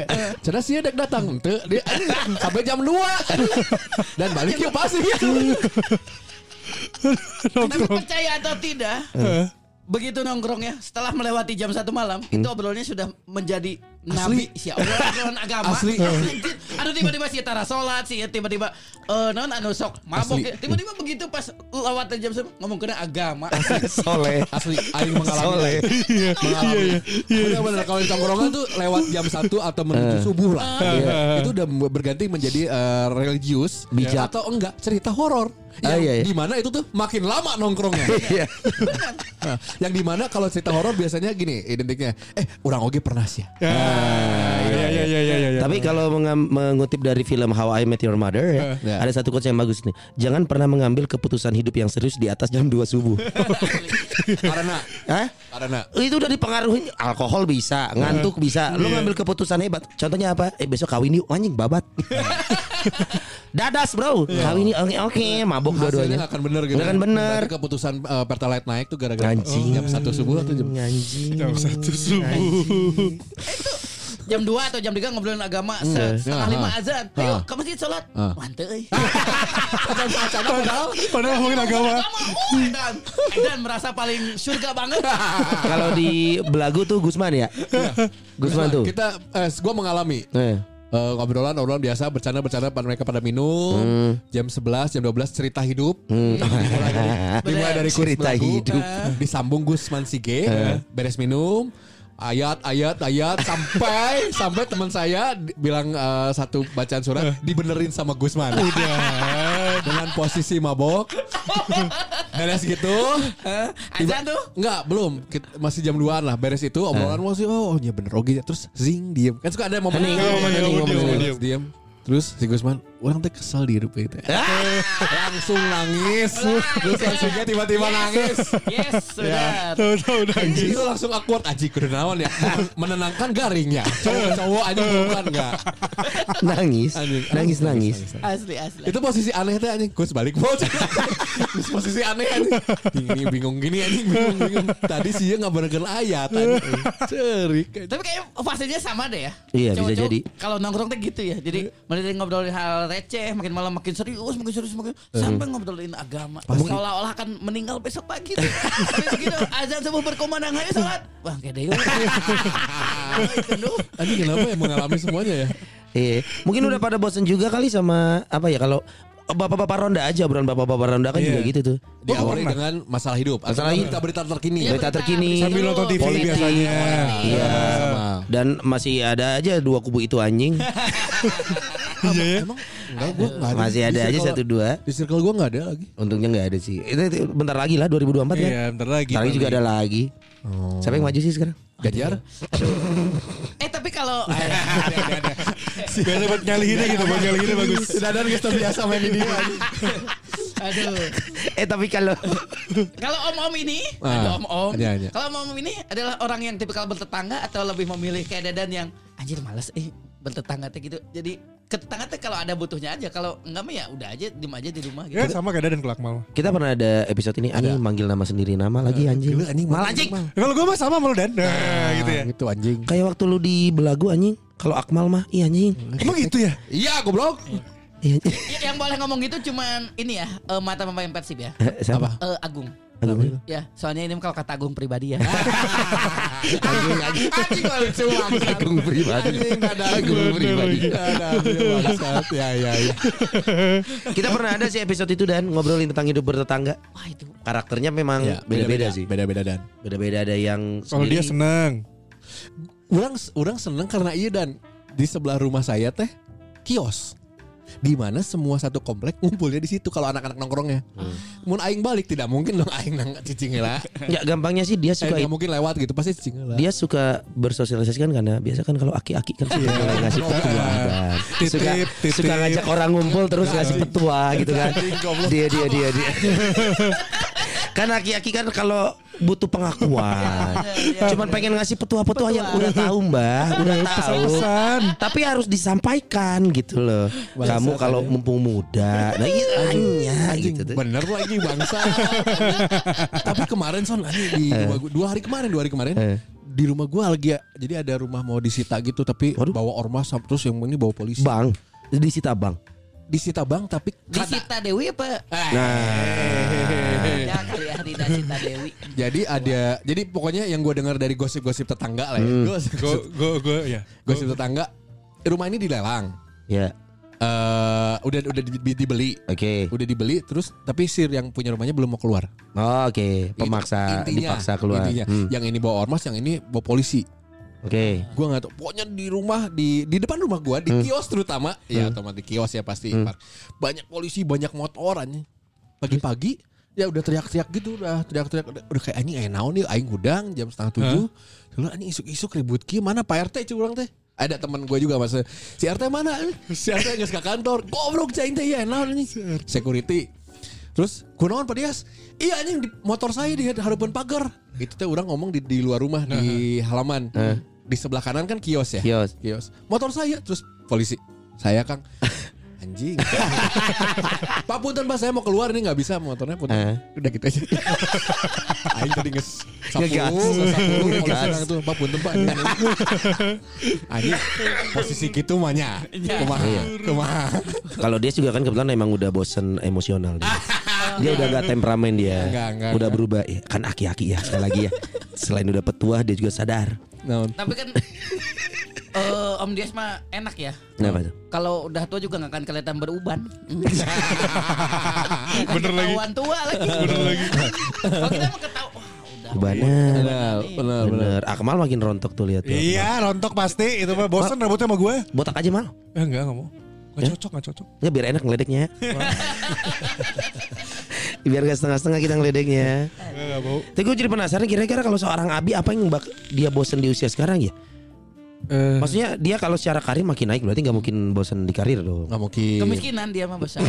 Cenah sih dak datang. Henteu dia anjing, sampai jam 2. Dan balik yuk pasti. Tapi percaya atau tidak, begitu nongkrong ya, setelah melewati jam satu malam, itu obrolannya sudah menjadi nabi sih, obrolan, obrolan agama. Asli. Anjir. Aduh tiba-tiba sih tara sholat sih, tiba-tiba eh non anu sok mabok, ya. tiba-tiba begitu pas lewat jam satu ngomong kena agama. Soleh. Asli aing mengalami. Soleh. Iya, Mengalami. iya, iya. Benar-benar kalau di tongkrongan tuh lewat jam 1 atau menuju subuh lah. Iya. Itu udah berganti menjadi eh, religius, bijak atau enggak cerita horor. Ah, iya, iya. Yang di mana itu tuh makin lama nongkrongnya. Iya. Nah, yang dimana kalau cerita horor biasanya gini identiknya eh orang oge pernah sih ya Ya, ya, ya, ya, ya, Iya. ya, ya. Tapi kalau mengam- mengutip dari film How I Met Your Mother ya, Ya. ada satu quotes yang bagus nih. Jangan pernah mengambil keputusan hidup yang serius di atas jam 2 subuh. karena Hah? karena Iya. itu udah dipengaruhi alkohol bisa ngantuk bisa lu ngambil keputusan hebat contohnya apa eh besok kawin yuk anjing babat dadas bro kawin yuk oke oke Iya. mabok hasilnya dua-duanya nggak akan bener gitu Nggak akan bener Berarti keputusan eh, pertalite naik tuh gara-gara eh, Anjing. jam satu subuh atau jam anjing Jam satu Iya. subuh. jam 2 atau jam 3 ngobrolin agama, se- setengah Ya, 5 ah. azan. Ayo Ah. ke masjid sholat. Ah. Manteu eh. euy. padahal Padahal ngomongin agama. Dan, dan merasa paling surga banget. kalau di belagu tuh Gusman ya Gusman tuh kita eh gua mengalami Eh, eh, ngobrolan obrolan biasa bercanda bercanda pada mereka pada minum jam 11 jam 12 cerita hidup dimulai dari, Hmm. dimulai dari Eh. Gus Cerita Melagu, hidup. kan. disambung Gus Mansige beres minum ayat ayat ayat sampai sampai teman saya di- bilang eh, satu bacaan surat dibenerin sama Gusman udah dengan posisi mabok beres gitu Eh, Azan tuh. Enggak, belum. Kit- masih jam 2-an lah. Beres itu obrolan masih oh, oh, iya bener oke. Terus zing diem. Kan suka ada momen Eh. Hening, Diem, momen, diem, hening, diem, momen, diem. diem. Terus si Gusman, orang teh kesel di hidup itu. Ah! Langsung nangis. Terus langsungnya tiba-tiba Yes. nangis. Yes, benar. Tahu tahu Iya. nangis. Anjing itu langsung awkward Aji kudu naon ya Men- Menenangkan ya? garingnya Eh. Cowok-cowok aja bukan enggak nangis Anjing. nangis nangis Asli asli. Itu posisi aneh teh anjing Gus balik bol Terus posisi aneh anjing Ini bingung gini anjing Bingung-bingung Tadi sih ya ngabarkan ayat anjing Eh. Cerik anjing. Tapi kayaknya fasenya sama deh ya. Iya, bisa Cowok-cowok jadi. Iya. Kalau nongkrong teh gitu ya. Jadi mulai dari ngobrolin hal receh, makin malam makin serius, makin serius makin Iya. sampai ngobrolin agama. Seolah-olah akan meninggal besok pagi. tuh. Tapi begitu azan subuh berkumandang ayo salat. Wah, kayak dewe. Oh, itu lu. Anjing kenapa ya mengalami semuanya ya? Iya, mungkin udah pada bosen juga kali sama apa ya kalau bapak-bapak ronda aja obrolan bapak-bapak ronda kan juga gitu tuh Diawali dengan masalah hidup, atau Masalah hidup. berita-berita terkini. Iya, Berita terkini. berita Sambil nonton TV politik. biasanya. Iya. Sama. dan masih ada aja dua kubu itu anjing Iya ya. Enggak, gua enggak ada. masih ada Di aja circle- satu dua Di circle gua enggak ada lagi. Untungnya nggak ada sih. Itu, itu bentar lagi lah 2024 ya. Iya, bentar lagi. Bentar lagi juga ada lagi. Siapa yang maju sih sekarang? Gajar. Eh, tapi kalau Biar dapat nyalihinnya gitu, buat nyalihinnya bagus. Dadan geus biasa main ini. aduh. eh tapi kalau Kalau om-om ini, Ah, ada om-om. iya, iya. Kalau om-om ini adalah orang yang tipikal bertetangga atau lebih memilih kayak dadan yang anjir males eh bertetangga teh gitu. Jadi ke tetangga teh kalau ada butuhnya aja, kalau enggak mah ya udah aja diem aja di rumah gitu. Ya sama kayak Dadan kelak mal. kita pernah ada episode ini anjing manggil nama sendiri nama lagi anjing. Gila, anjing. Malah anjing. Ya, Kalau gue mah sama sama lu Dan. Nah, gitu ya. Gitu anjing. Kayak waktu lu di Belagu anjing. Kalau Akmal mah iya anjing. Emang gitu ya? Iya, goblok. Iya anjing. Ya, yang boleh ngomong gitu cuman ini ya, eh, mata pemain Persib ya. Siapa? Eh, Agung. Agung. Ya, soalnya ini kalau kata Agung pribadi ya. Agung Agung. Anjing lucu banget. Agung pribadi. Anjing Dadan. Agung pribadi. Dadan, dia bangsat. Ya, ya, ya. Kita pernah ada sih episode itu dan ngobrolin tentang hidup bertetangga. Wah itu. Karakternya memang Ya, Iya, beda-beda sih. Beda-beda dan. Beda-beda ada yang Kalau dia sendiri. seneng. Orang orang seneng karena iya dan di sebelah rumah saya teh kios. di mana semua satu komplek ngumpulnya di situ kalau anak-anak nongkrongnya. Hmm. Mun aing balik tidak mungkin dong aing nang cicing lah. Nggak gampangnya sih Eh, dia suka nggak mungkin lewat gitu pasti cicing lah. dia suka bersosialisasi kan karena biasa kan kalau aki-aki Iya. kan suka mulai ngasih petua kan. Titip, suka titip. suka ngajak orang ngumpul terus ngasih petua gitu kan dia dia dia dia kan aki-aki kan kalau butuh pengakuan cuman pengen ngasih petua-petua yang udah tahu mbak udah tahu tapi harus disampaikan gitu loh kamu kalau mumpung muda nah iya hanya gitu tuh. Bener lagi bangsa. Tapi kemarin son anjing, di rumah gua, dua hari kemarin dua hari kemarin Eh. di rumah gua lagi ya, jadi ada rumah mau disita gitu tapi bawa ormas terus yang ini bawa polisi. bang disita bang Disita bang tapi Disita Dewi apa? Nah. Ya kali ya Rida Sita Dewi. Jadi ada jadi pokoknya yang gue dengar dari gosip-gosip tetangga lah ya. Hmm. Gosip, Gue gue gue ya. gosip tetangga rumah ini dilelang. ya Eh udah udah di- dibeli. oke Udah dibeli terus tapi sir yang punya rumahnya belum mau keluar. Oh, oke pemaksa Intinya, dipaksa keluar intinya. Hmm. Yang ini bawa ormas, yang ini bawa polisi. oke Gue nggak tahu. Pokoknya di rumah di di depan rumah gue Hmm. di kios terutama, ya otomatis kios ya pasti. Par- Banyak polisi, banyak motorannya. Pagi-pagi ya udah teriak-teriak gitu udah teriak-teriak udah, udah kayak anjing aing naon nih aing gudang jam setengah tujuh Lalu anjing isuk-isuk ribut ki mana Pak RT curang teh ada teman gue juga mas si RT mana si RT nggak ke kantor goblok cah teh ya naon anjing security Terus gue naon Pak Dias Iya anjing di motor saya di hadapan pagar Itu teh orang ngomong di, di luar rumah Di halaman Di sebelah kanan kan kios ya Kios. Motor saya Terus polisi Saya Kang Anjing Pak Punten Pak saya mau keluar nih nggak bisa motornya Punten Eh. Udah gitu aja Aing tadi nges Sapu Ngegas. Sapu Ngegas. polisi orang tuh Pak Punten Pak Anjing Posisi gitu mahnya Kumaha Iya. Kumaha Kalau dia juga kan kebetulan emang udah bosen emosional dia. Dia udah gak temperamen dia. Enggak, enggak, udah enggak. berubah ya. Kan aki-aki ya sekali lagi ya. Selain udah petua dia juga sadar. Naon Tapi kan eh, Om Dias mah enak ya. Kenapa tuh? Kalau udah tua juga nggak akan kelihatan beruban. Bener lagi. Ketahuan tua lagi. Bener lagi. Kalau kita mau ketahuan, wah udah. Bener. Benar, benar, benar. Bener. Akmal Ah, makin rontok tuh lihat. tuh. Iya, rontok pasti itu mah bosen rambutnya sama Eh? gue. Botak aja mal. Eh enggak enggak mau. Gak cocok, gak cocok. Ya biar enak ngeledeknya. biar gak setengah-setengah kita ngeledeknya. Enggak enggak mau. Tapi gue jadi penasaran kira-kira kalau seorang Abi apa yang bak dia bosen di usia sekarang ya? Eh. Maksudnya dia kalau secara karir makin naik berarti nggak mungkin bosen di karir dong. Nggak mungkin Kemiskinan dia mah besar.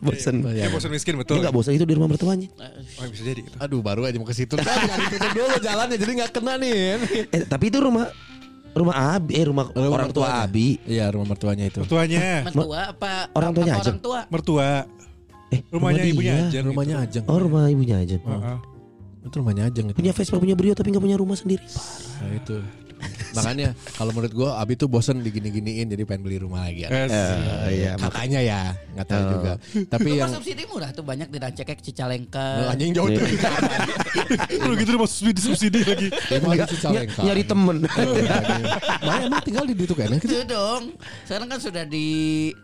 Bosen. Dia Dia bosen miskin betul. nggak bosen itu di rumah mertuanya. Oh, bisa jadi itu. Aduh baru aja mau ke situ. Kan nggak ditutup dulu jalannya jadi nggak kena nih. Eh, tapi itu rumah rumah Abi, eh rumah, orang tua mertuanya. Abi. Iya rumah mertuanya itu. Tuanya, Mertua apa? Orang tuanya apa aja. Orang tua. mertua. Eh, Rumahnya rumah ibunya Ah, dia. aja. Iya, rumahnya Ajeng. Oh, rumah ibunya aja. Heeh. Itu rumahnya Ajeng itu. Punya Vespa, punya Brio tapi nggak punya rumah sendiri. Nah, itu. Makanya kalau menurut gua Abi tuh bosen digini-giniin jadi pengen beli rumah lagi. Ya. Yes. iya, kakaknya ya nggak tahu juga. Tapi Iya. Rumah yang subsidi murah tuh banyak di Rancakek Eh, Cicalengka. anjing jauh tuh. Lu gitu udah masuk di subsidi lagi. Emang Nggak, di ny- Cicalengka. nyari temen. Mana Iya, emang tinggal di situ kayaknya gitu. Itu dong. Sekarang kan sudah di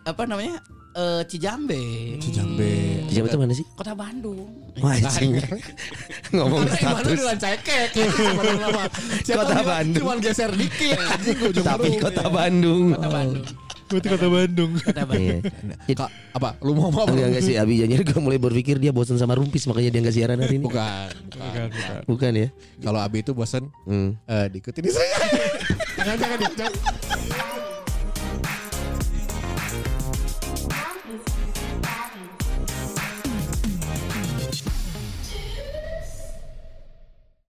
apa namanya? eh, Cijambe. Iya. Jambe. Siapa itu mana sih? Kota Bandung. Wah, anjing. Ngomong Oh, status. cekek. Kota Bandung. Cuman geser dikit. Anjing ke ujung Tapi huruf. kota Ah. Bandung. Kota Bandung. Berarti kota Bandung. Kota Bandung. Iya. Kak, apa? Lu mau apa? Enggak enggak sih Abi jadi gue mulai berpikir dia bosan sama rumpis makanya dia nggak siaran hari ini. Bukan, Iya. bukan. Bukan, bukan. Bukan ya? Kalau Abi itu bosen Hmm. eh diikutin istri. jangan jangan jangan.